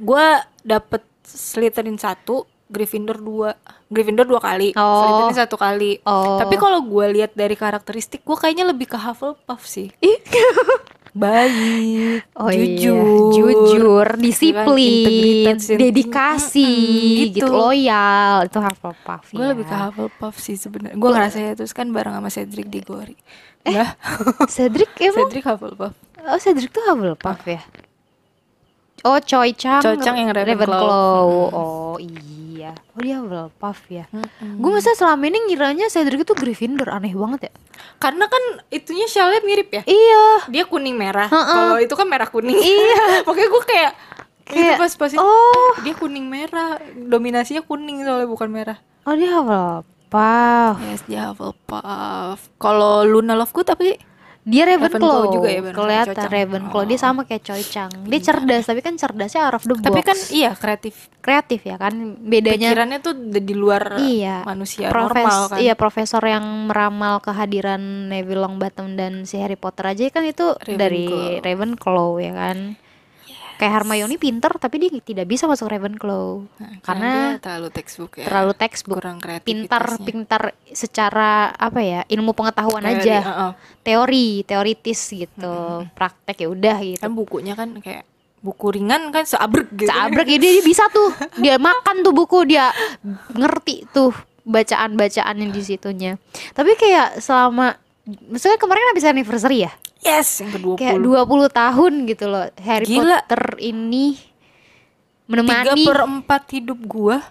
[SPEAKER 3] gue dapet Slytherin satu Gryffindor dua Gryffindor dua kali
[SPEAKER 2] Oh.
[SPEAKER 3] Slytherin satu kali
[SPEAKER 2] Oh.
[SPEAKER 3] tapi kalau gue lihat dari karakteristik gue kayaknya lebih ke Hufflepuff sih
[SPEAKER 2] Ih.
[SPEAKER 3] baik jujur
[SPEAKER 2] Oh iya, jujur,
[SPEAKER 3] integritas,
[SPEAKER 2] disiplin,
[SPEAKER 3] integritas.
[SPEAKER 2] dedikasi,
[SPEAKER 3] Mm-mm,
[SPEAKER 2] gitu.
[SPEAKER 3] gitu.
[SPEAKER 2] loyal, itu Hufflepuff.
[SPEAKER 3] Gue
[SPEAKER 2] ya.
[SPEAKER 3] lebih ke Hufflepuff sih sebenarnya. Gue ngerasa ya terus kan bareng sama Cedric di Gori. Nah,
[SPEAKER 2] Cedric emang
[SPEAKER 3] Cedric Hufflepuff.
[SPEAKER 2] Oh Cedric tuh Hufflepuff ya? Oh Choi Chang
[SPEAKER 3] Choi Chang yang Ravenclaw.
[SPEAKER 2] Oh iya ya oh dia Hufflepuff ya gue masa selama ini ngiranya Cedric itu Gryffindor aneh banget ya
[SPEAKER 3] Karena kan itunya shellnya mirip ya.
[SPEAKER 2] iya
[SPEAKER 3] Dia kuning merah.
[SPEAKER 2] Heeh.
[SPEAKER 3] Kalau itu kan merah kuning. Iya. Makanya gue kayak
[SPEAKER 2] Kayak,
[SPEAKER 3] itu pas pas itu,
[SPEAKER 2] oh.
[SPEAKER 3] dia kuning merah dominasinya kuning soalnya bukan merah
[SPEAKER 2] oh dia Hufflepuff
[SPEAKER 3] yes dia Hufflepuff kalau Luna Lovegood tapi
[SPEAKER 2] dia
[SPEAKER 3] Ravenclaw
[SPEAKER 2] Ravenclaw
[SPEAKER 3] juga ya, bener.
[SPEAKER 2] kelihatan
[SPEAKER 3] Cocok.
[SPEAKER 2] Ravenclaw dia sama kayak Choi Chang dia cerdas tapi kan cerdasnya out of the box
[SPEAKER 3] Iya. tapi kan iya kreatif
[SPEAKER 2] kreatif ya kan bedanya
[SPEAKER 3] pikirannya tuh udah di luar
[SPEAKER 2] Iya.
[SPEAKER 3] eh, manusia
[SPEAKER 2] Profes-
[SPEAKER 3] normal kan
[SPEAKER 2] Iya, profesor yang meramal kehadiran Neville Longbottom dan si Harry Potter aja kan itu dari Ravenclaw ya kan. Kayak Hermione pinter tapi dia tidak bisa masuk Ravenclaw
[SPEAKER 3] Nah,
[SPEAKER 2] karena
[SPEAKER 3] dia terlalu textbook ya
[SPEAKER 2] terlalu textbook.
[SPEAKER 3] kurang kreatif
[SPEAKER 2] Pintar-pintar secara apa ya? Ilmu pengetahuan aja. Teori, teoritis gitu. Praktek ya udah gitu.
[SPEAKER 3] kan bukunya kan kayak buku ringan kan seabrek gitu
[SPEAKER 2] Cabrek ya dia, dia bisa tuh. Dia makan tuh buku, dia ngerti tuh bacaan-bacaan yang di situnya. Tapi kayak selama maksudnya kemarin habis anniversary ya?
[SPEAKER 3] yes yang kedua
[SPEAKER 2] Kayak 20 tahun gitu loh Harry
[SPEAKER 3] Gila.
[SPEAKER 2] Potter ini
[SPEAKER 3] tiga
[SPEAKER 2] menemani
[SPEAKER 3] per empat hidup gua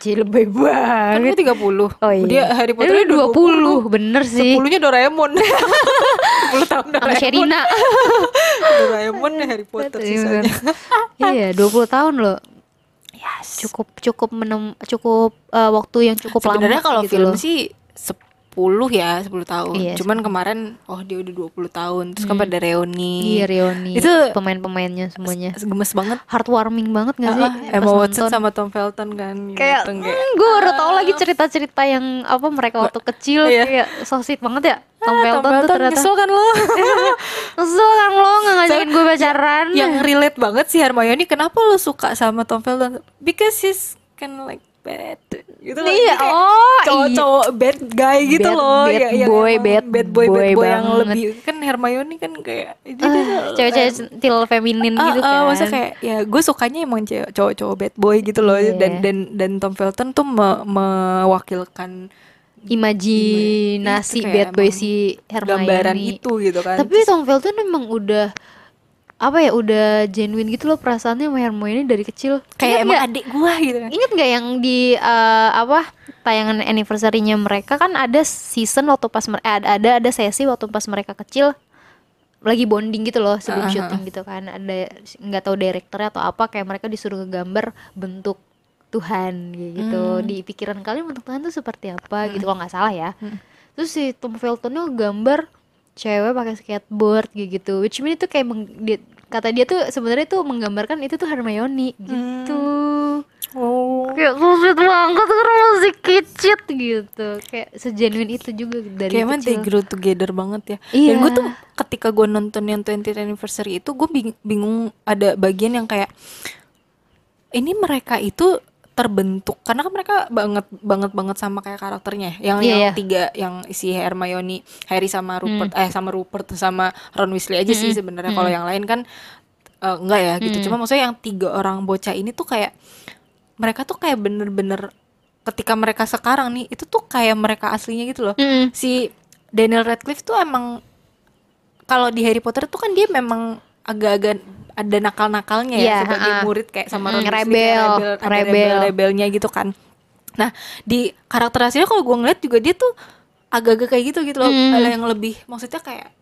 [SPEAKER 2] Jadi lebih
[SPEAKER 3] kan
[SPEAKER 2] banget.
[SPEAKER 3] gua tiga puluh
[SPEAKER 2] Oh iya.
[SPEAKER 3] dia Harry Potternya
[SPEAKER 2] Dia 20, bener sih.
[SPEAKER 3] sepuluhnya Doraemon sepuluh tahun
[SPEAKER 2] Sama
[SPEAKER 3] Doraemon
[SPEAKER 2] Sherina.
[SPEAKER 3] Doraemon Harry Potter sisanya
[SPEAKER 2] iya, 20 tahun loh.
[SPEAKER 3] yes
[SPEAKER 2] Cukup cukup menem cukup eh, waktu yang cukup
[SPEAKER 3] sebenarnya
[SPEAKER 2] lama
[SPEAKER 3] kalau
[SPEAKER 2] gitu
[SPEAKER 3] film
[SPEAKER 2] loh.
[SPEAKER 3] sih sepuluh ya sepuluh tahun
[SPEAKER 2] Iya,
[SPEAKER 3] cuman kemarin oh dia udah 20 tahun terus kan pada reuni
[SPEAKER 2] Iya, Reoni.
[SPEAKER 3] Itu-
[SPEAKER 2] pemain-pemainnya semuanya.
[SPEAKER 3] gemes banget
[SPEAKER 2] heartwarming banget gak Iya sih?
[SPEAKER 3] Ah, Emma
[SPEAKER 2] pas
[SPEAKER 3] Watson
[SPEAKER 2] nonton?
[SPEAKER 3] sama Tom Felton kan
[SPEAKER 2] kayak
[SPEAKER 3] dateng
[SPEAKER 2] "Hmm, gue baru tau lagi cerita-cerita yang apa mereka waktu kecil
[SPEAKER 3] Iya.
[SPEAKER 2] kayak sosit banget ya Tom
[SPEAKER 3] Ah,
[SPEAKER 2] Felton tuh ternyata
[SPEAKER 3] nyesel kan lo
[SPEAKER 2] Kesel kan lo gak ngajakin gue pacaran
[SPEAKER 3] yang relate banget sih Hermione kenapa lo suka sama Tom Felton because he's kind of like bad gitu loh.
[SPEAKER 2] Iya,
[SPEAKER 3] Dia kayak
[SPEAKER 2] oh,
[SPEAKER 3] cowok-cowok bad guy gitu
[SPEAKER 2] Bad-
[SPEAKER 3] loh
[SPEAKER 2] bad
[SPEAKER 3] ya- yang
[SPEAKER 2] boy,
[SPEAKER 3] emang
[SPEAKER 2] bad
[SPEAKER 3] bad boy bad
[SPEAKER 2] boy
[SPEAKER 3] boy yang
[SPEAKER 2] banget.
[SPEAKER 3] lebih kan Hermione kan kayak dia
[SPEAKER 2] Ah,
[SPEAKER 3] tuh
[SPEAKER 2] cewek-cewek centil feminin
[SPEAKER 3] Ah,
[SPEAKER 2] gitu
[SPEAKER 3] ah,
[SPEAKER 2] kan
[SPEAKER 3] maksudnya kayak ya gue sukanya emang cewek- cowok-cowok bad boy gitu loh
[SPEAKER 2] Iya.
[SPEAKER 3] dan dan dan Tom Felton tuh me- mewakilkan
[SPEAKER 2] imajinasi
[SPEAKER 3] Itu kayak
[SPEAKER 2] bad boy
[SPEAKER 3] emang
[SPEAKER 2] si Hermione
[SPEAKER 3] gambaran itu gitu kan
[SPEAKER 2] tapi Tom Felton emang udah apa ya udah genuine gitu loh perasaannya sama Hermione dari kecil Ingat
[SPEAKER 3] kayak
[SPEAKER 2] nggak?
[SPEAKER 3] emang adik gue gitu kan
[SPEAKER 2] Ingat nggak yang di eh, apa tayangan anniversary-nya mereka kan ada season waktu pas mer- eh, ada ada ada sesi waktu pas mereka kecil lagi bonding gitu loh
[SPEAKER 3] Ah,
[SPEAKER 2] sebelum
[SPEAKER 3] ah,
[SPEAKER 2] syuting gitu kan ada nggak tahu direkturnya atau apa kayak mereka disuruh ngegambar bentuk Tuhan kayak gitu di pikiran kalian bentuk Tuhan tuh seperti apa gitu kalau nggak salah ya terus si Tom Feltonnya gambar cewek pakai skateboard kayak gitu which mean itu kayak meng- dia- kata dia tuh sebenarnya tuh menggambarkan itu tuh Hermione gitu
[SPEAKER 3] oh
[SPEAKER 2] kayak buset banget kan masih kicit gitu kayak sejenuin itu juga dari
[SPEAKER 3] kayak emang they
[SPEAKER 2] kecil
[SPEAKER 3] grow together banget ya
[SPEAKER 2] Iya.
[SPEAKER 3] dan gue tuh ketika gue nonton yang 20th anniversary itu gue bingung ada bagian yang kayak ini mereka itu terbentuk karena kan mereka banget banget banget sama kayak karakternya ya. yang
[SPEAKER 2] Iya,
[SPEAKER 3] yang
[SPEAKER 2] iya. Hmm.
[SPEAKER 3] tiga yang si Hermione Harry sama Rupert eh sama Rupert sama Ron Weasley aja sih sebenarnya kalau yang lain kan eh, enggak ya
[SPEAKER 2] Hmm.
[SPEAKER 3] gitu cuma maksudnya yang tiga orang bocah ini tuh kayak mereka tuh kayak bener-bener ketika mereka sekarang nih itu tuh kayak mereka aslinya gitu loh
[SPEAKER 2] Mm-mm.
[SPEAKER 3] si Daniel Radcliffe tuh emang kalau di Harry Potter tuh kan dia memang agak-agak ada nakal-nakalnya
[SPEAKER 2] Iya,
[SPEAKER 3] ya sebagai
[SPEAKER 2] ha-ha.
[SPEAKER 3] murid kayak sama Ron
[SPEAKER 2] Mm,
[SPEAKER 3] Weasley,
[SPEAKER 2] rebel,
[SPEAKER 3] kayak ada
[SPEAKER 2] rebel.
[SPEAKER 3] rebel-rebelnya gitu kan. Nah, di karakter aslinya kalau gue ngeliat juga dia tuh agak-agak kayak gitu gitu loh,
[SPEAKER 2] Mm.
[SPEAKER 3] ada yang lebih maksudnya kayak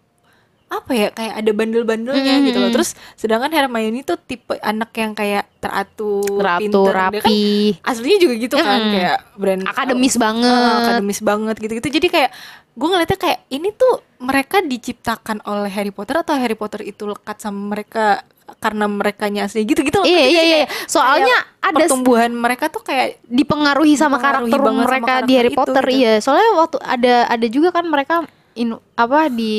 [SPEAKER 3] apa ya kayak ada
[SPEAKER 2] Hmm.
[SPEAKER 3] bandel-bandelnya gitu loh. Terus sedangkan Hermione tuh tipe anak yang kayak teratur,
[SPEAKER 2] teratur
[SPEAKER 3] pinter. Dia kan
[SPEAKER 2] rapi Hmm.
[SPEAKER 3] aslinya juga gitu kan
[SPEAKER 2] Mm-mm.
[SPEAKER 3] kayak brand
[SPEAKER 2] akademis
[SPEAKER 3] Ah,
[SPEAKER 2] banget
[SPEAKER 3] akademis banget gitu-gitu jadi kayak gue ngeliatnya kayak ini tuh mereka diciptakan oleh Harry Potter atau Harry Potter itu lekat sama mereka karena mereka asli gitu gitu
[SPEAKER 2] iya iya iya soalnya ada s-
[SPEAKER 3] pertumbuhan mereka tuh kayak
[SPEAKER 2] dipengaruhi sama
[SPEAKER 3] Dipengaruhi
[SPEAKER 2] karakter
[SPEAKER 3] banget sama
[SPEAKER 2] mereka di
[SPEAKER 3] karakter
[SPEAKER 2] Harry
[SPEAKER 3] itu,
[SPEAKER 2] Potter
[SPEAKER 3] gitu.
[SPEAKER 2] iya soalnya waktu ada ada juga kan mereka in, apa di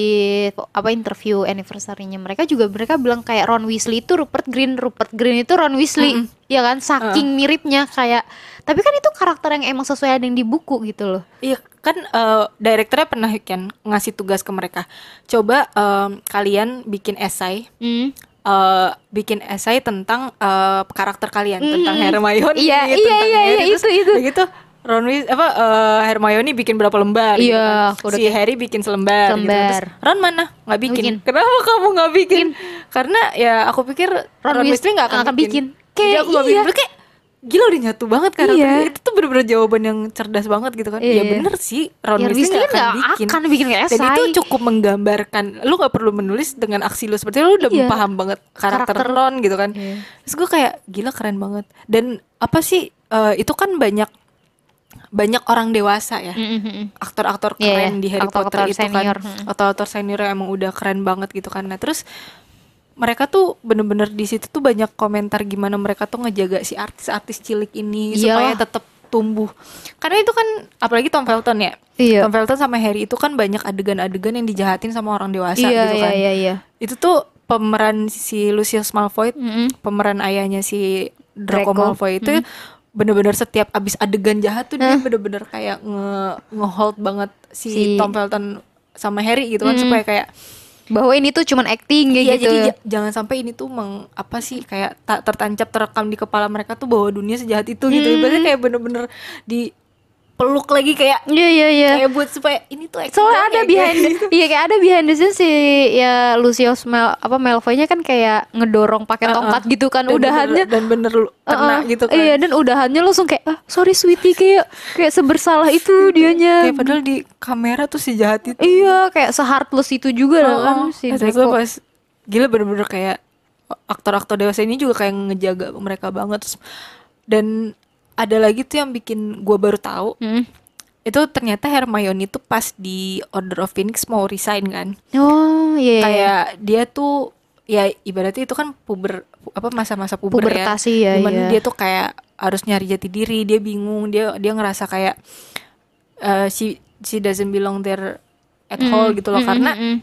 [SPEAKER 2] apa interview anniversary-nya mereka juga mereka bilang kayak Ron Weasley itu Rupert Green Rupert Green itu Ron Weasley ya kan
[SPEAKER 3] Ah.
[SPEAKER 2] saking miripnya kayak tapi kan itu karakter yang emang sesuai ada yang di buku gitu loh
[SPEAKER 3] iya kan eh, direkturnya pernah kan ngasih tugas ke mereka coba em, kalian bikin esai
[SPEAKER 2] Hmm.
[SPEAKER 3] eh, bikin esai tentang eh, karakter kalian tentang Hermione gitu,
[SPEAKER 2] Iya,
[SPEAKER 3] tentang
[SPEAKER 2] iya, iya,
[SPEAKER 3] Harry.
[SPEAKER 2] iya,
[SPEAKER 3] Terus
[SPEAKER 2] itu, itu.
[SPEAKER 3] udah gitu Ron Weas- apa eh, Hermione bikin berapa lembar gitu
[SPEAKER 2] Iya,
[SPEAKER 3] kan.
[SPEAKER 2] aku udah-
[SPEAKER 3] si Harry bikin selembar, gitu.
[SPEAKER 2] Selembar.
[SPEAKER 3] Terus, Ron mana nggak bikin.
[SPEAKER 2] Bikin.
[SPEAKER 3] kenapa kamu nggak bikin? karena ya aku pikir Ron,
[SPEAKER 2] Ron Weas-
[SPEAKER 3] Weasley nggak akan,
[SPEAKER 2] nggak akan bikin.
[SPEAKER 3] Jadi
[SPEAKER 2] Kayak
[SPEAKER 3] aku nggak
[SPEAKER 2] iya.
[SPEAKER 3] bikin Terus kayak gila udah nyatu banget kan
[SPEAKER 2] Iya.
[SPEAKER 3] itu tuh bener-bener jawaban yang cerdas banget gitu kan
[SPEAKER 2] Iya.
[SPEAKER 3] ya bener sih Ron
[SPEAKER 2] Ya,
[SPEAKER 3] Weasley
[SPEAKER 2] Weasley
[SPEAKER 3] nggak akan
[SPEAKER 2] nggak
[SPEAKER 3] bikin
[SPEAKER 2] akan bikin kayak
[SPEAKER 3] dan
[SPEAKER 2] esai.
[SPEAKER 3] itu cukup menggambarkan lu nggak perlu menulis dengan aksi lu seperti itu, lu udah
[SPEAKER 2] Iya.
[SPEAKER 3] paham banget karakter,
[SPEAKER 2] Karakter.
[SPEAKER 3] Ron gitu kan
[SPEAKER 2] Iya.
[SPEAKER 3] terus gue kayak gila keren banget dan apa sih eh, itu kan banyak banyak orang dewasa ya aktor-aktor
[SPEAKER 2] Hmm. Iya,
[SPEAKER 3] keren
[SPEAKER 2] iya.
[SPEAKER 3] di Harry
[SPEAKER 2] Aktor-aktor
[SPEAKER 3] Potter itu
[SPEAKER 2] senior.
[SPEAKER 3] kan
[SPEAKER 2] Mm.
[SPEAKER 3] aktor-aktor senior yang emang udah keren banget gitu kan nah terus mereka tuh bener-bener di situ tuh banyak komentar gimana mereka tuh ngejaga si artis-artis cilik ini supaya
[SPEAKER 2] Iyalah.
[SPEAKER 3] tetap tumbuh karena itu kan apalagi Tom Felton ya
[SPEAKER 2] Iya.
[SPEAKER 3] Tom Felton sama Harry itu kan banyak adegan-adegan yang dijahatin sama orang dewasa
[SPEAKER 2] Iya,
[SPEAKER 3] gitu
[SPEAKER 2] iya,
[SPEAKER 3] kan
[SPEAKER 2] iya, iya.
[SPEAKER 3] itu tuh pemeran si Lucius Malfoy
[SPEAKER 2] Mm-mm.
[SPEAKER 3] pemeran ayahnya si Draco,
[SPEAKER 2] Draco. Hmm.
[SPEAKER 3] Malfoy itu bener-bener setiap abis adegan jahat tuh dia bener-bener kayak nge ngehold banget si,
[SPEAKER 2] Si-
[SPEAKER 3] Tom Felton sama Harry gitu kan supaya kayak
[SPEAKER 2] Bahwa ini tuh cuman acting kayak
[SPEAKER 3] Iya
[SPEAKER 2] gitu.
[SPEAKER 3] jadi ja- jangan sampai ini tuh meng apa sih kayak tak tertancap terekam di kepala mereka tuh bahwa dunia sejahat itu gitu.
[SPEAKER 2] Hmm.
[SPEAKER 3] Ibaratnya kayak bener-bener di peluk lagi kayak
[SPEAKER 2] Iya, iya, iya.
[SPEAKER 3] kayak buat supaya ini tuh acting doang
[SPEAKER 2] Soalnya ada
[SPEAKER 3] ya,
[SPEAKER 2] behind
[SPEAKER 3] guys.
[SPEAKER 2] Iya kayak ada behind the scene si ya Lucius Mel apa Malfoy-nya kan kayak ngedorong pakai tongkat gitu kan
[SPEAKER 3] Dan bener-
[SPEAKER 2] udahannya
[SPEAKER 3] dan bener lu kena
[SPEAKER 2] Uh-uh.
[SPEAKER 3] gitu kan.
[SPEAKER 2] Iya dan udahannya langsung kayak ah sorry sweetie kayak kayak sebersalah itu dianya.
[SPEAKER 3] Kayak padahal di kamera tuh sejahat itu.
[SPEAKER 2] iya kayak seheartless itu juga lah kan
[SPEAKER 3] Oh,
[SPEAKER 2] si
[SPEAKER 3] pas itu
[SPEAKER 2] Draco.
[SPEAKER 3] pas gila bener-bener kayak aktor-aktor dewasa ini juga kayak ngejaga mereka banget Terus- dan ada lagi tuh yang bikin gua baru tahu
[SPEAKER 2] Hmm.
[SPEAKER 3] itu ternyata Hermione tuh pas di Order of Phoenix mau resign kan
[SPEAKER 2] Oh iya. iya.
[SPEAKER 3] kayak dia tuh ya ibaratnya itu kan puber apa masa-masa puber
[SPEAKER 2] Pubertas,
[SPEAKER 3] ya,
[SPEAKER 2] iya,
[SPEAKER 3] Dimana
[SPEAKER 2] iya.
[SPEAKER 3] dia tuh kayak harus nyari jati diri dia bingung dia dia ngerasa kayak eh she she doesn't belong there at all gitu loh
[SPEAKER 2] Mm, mm,
[SPEAKER 3] karena
[SPEAKER 2] mm, mm.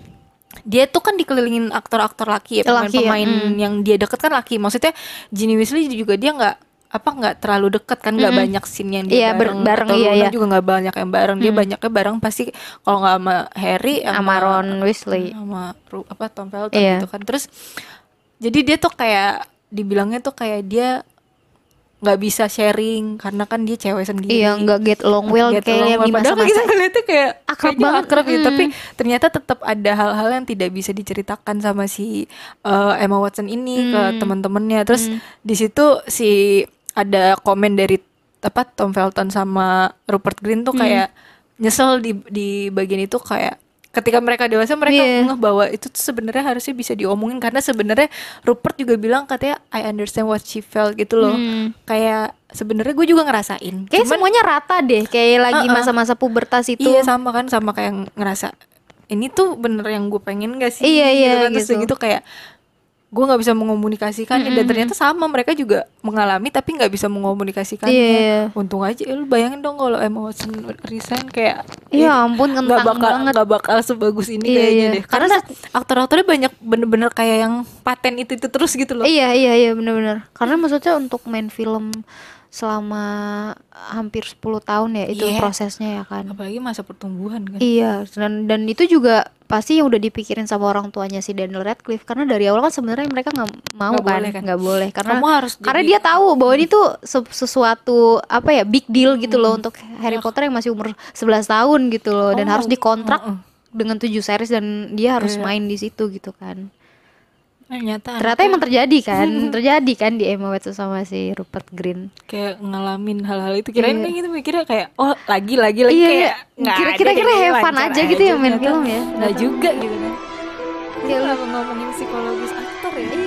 [SPEAKER 3] dia tuh kan dikelilingin aktor-aktor laki ya
[SPEAKER 2] Laki,
[SPEAKER 3] pemain-pemain
[SPEAKER 2] ya, mm.
[SPEAKER 3] yang dia deket kan laki maksudnya Ginny Weasley juga dia nggak apa nggak terlalu deket kan nggak banyak scene yang dia
[SPEAKER 2] Iya, ber-
[SPEAKER 3] bareng,
[SPEAKER 2] bareng,
[SPEAKER 3] atau
[SPEAKER 2] iya,
[SPEAKER 3] Luna
[SPEAKER 2] iya. Hmm.
[SPEAKER 3] juga nggak banyak yang bareng dia banyaknya bareng pasti kalau nggak sama Harry
[SPEAKER 2] Sama Ron Weasley.
[SPEAKER 3] sama Ru- apa Tom Felton
[SPEAKER 2] Iya.
[SPEAKER 3] gitu kan terus jadi dia tuh kayak dibilangnya tuh kayak dia nggak bisa sharing karena kan dia cewek sendiri
[SPEAKER 2] Iya nggak get along well
[SPEAKER 3] Get along
[SPEAKER 2] kayak
[SPEAKER 3] well.
[SPEAKER 2] di
[SPEAKER 3] Padahal gitu kita
[SPEAKER 2] masa-masa.
[SPEAKER 3] ngeliatnya kayak
[SPEAKER 2] Akrab
[SPEAKER 3] kayaknya
[SPEAKER 2] banget,
[SPEAKER 3] akrab gitu
[SPEAKER 2] mm.
[SPEAKER 3] tapi ternyata tetap ada hal-hal yang tidak bisa diceritakan sama si uh, Emma Watson ini ke
[SPEAKER 2] Mm.
[SPEAKER 3] teman-temannya terus di situ si ada komen dari apa Tom Felton sama Rupert Green
[SPEAKER 2] Mm.
[SPEAKER 3] tuh kayak nyesel di di bagian itu kayak ketika mereka dewasa mereka
[SPEAKER 2] Iya.
[SPEAKER 3] ngeh bahwa itu tuh sebenarnya harusnya bisa diomongin karena sebenarnya Rupert juga bilang katanya I understand what she felt gitu
[SPEAKER 2] Mm.
[SPEAKER 3] loh
[SPEAKER 2] Hmm.
[SPEAKER 3] kayak sebenarnya gue juga ngerasain
[SPEAKER 2] Kayak
[SPEAKER 3] Cuman-
[SPEAKER 2] semuanya rata deh kayak lagi
[SPEAKER 3] Uh-uh.
[SPEAKER 2] masa-masa pubertas itu.
[SPEAKER 3] Iya sama kan sama kayak yang ngerasa ini tuh bener yang gue pengen gak sih?
[SPEAKER 2] Iya, iya,
[SPEAKER 3] kan? Terus udah
[SPEAKER 2] gitu.
[SPEAKER 3] gitu kayak gue nggak bisa mengomunikasikan dan ternyata sama mereka juga mengalami tapi nggak bisa mengomunikasikan.
[SPEAKER 2] Iya, iya.
[SPEAKER 3] Untung aja eh, lu bayangin dong kalau Emma Watson resign kayak
[SPEAKER 2] Iya
[SPEAKER 3] ih,
[SPEAKER 2] ampun
[SPEAKER 3] nggak
[SPEAKER 2] kentang
[SPEAKER 3] bakal
[SPEAKER 2] banget.
[SPEAKER 3] nggak bakal sebagus ini
[SPEAKER 2] Iya,
[SPEAKER 3] kayaknya
[SPEAKER 2] iya.
[SPEAKER 3] deh. Karena, aktor-aktornya banyak bener-bener kayak yang paten itu itu terus gitu loh.
[SPEAKER 2] Iya iya iya benar-benar. Karena maksudnya untuk main film selama hampir 10 tahun ya itu
[SPEAKER 3] Iya.
[SPEAKER 2] prosesnya ya kan.
[SPEAKER 3] Apalagi masa pertumbuhan kan.
[SPEAKER 2] Iya, dan dan itu juga pasti yang udah dipikirin sama orang tuanya si Daniel Radcliffe karena dari awal kan sebenarnya mereka nggak mau
[SPEAKER 3] Nggak
[SPEAKER 2] kan,
[SPEAKER 3] boleh kan?
[SPEAKER 2] nggak boleh karena
[SPEAKER 3] Kamu harus
[SPEAKER 2] karena
[SPEAKER 3] jadi- eh, Hmm.
[SPEAKER 2] dia tahu bahwa ini tuh se- sesuatu apa ya big deal gitu loh untuk Harry Potter yang masih umur 11 tahun gitu loh dan
[SPEAKER 3] Oh,
[SPEAKER 2] harus dikontrak
[SPEAKER 3] mm-mm.
[SPEAKER 2] dengan 7 series dan dia harus
[SPEAKER 3] Iya. Ah.
[SPEAKER 2] main di situ gitu kan.
[SPEAKER 3] Ternyata
[SPEAKER 2] Ternyata emang terjadi kan, terjadi kan di Emma Watson sama si Rupert Green.
[SPEAKER 3] kayak ngalamin hal-hal itu kirain
[SPEAKER 2] Iya.
[SPEAKER 3] kan gitu mikirnya kayak oh lagi lagi lagi
[SPEAKER 2] Iya,
[SPEAKER 3] kayak
[SPEAKER 2] iya.
[SPEAKER 3] nggak ada
[SPEAKER 2] Kira- kira-
[SPEAKER 3] deh,
[SPEAKER 2] kira
[SPEAKER 3] kayaknya
[SPEAKER 2] have fun
[SPEAKER 3] lancar
[SPEAKER 2] aja gitu ya main
[SPEAKER 3] ternyata
[SPEAKER 2] film ya.
[SPEAKER 3] nggak juga gitu kan
[SPEAKER 2] Iya.
[SPEAKER 3] Kenapa ngomongin psikologis aktor ya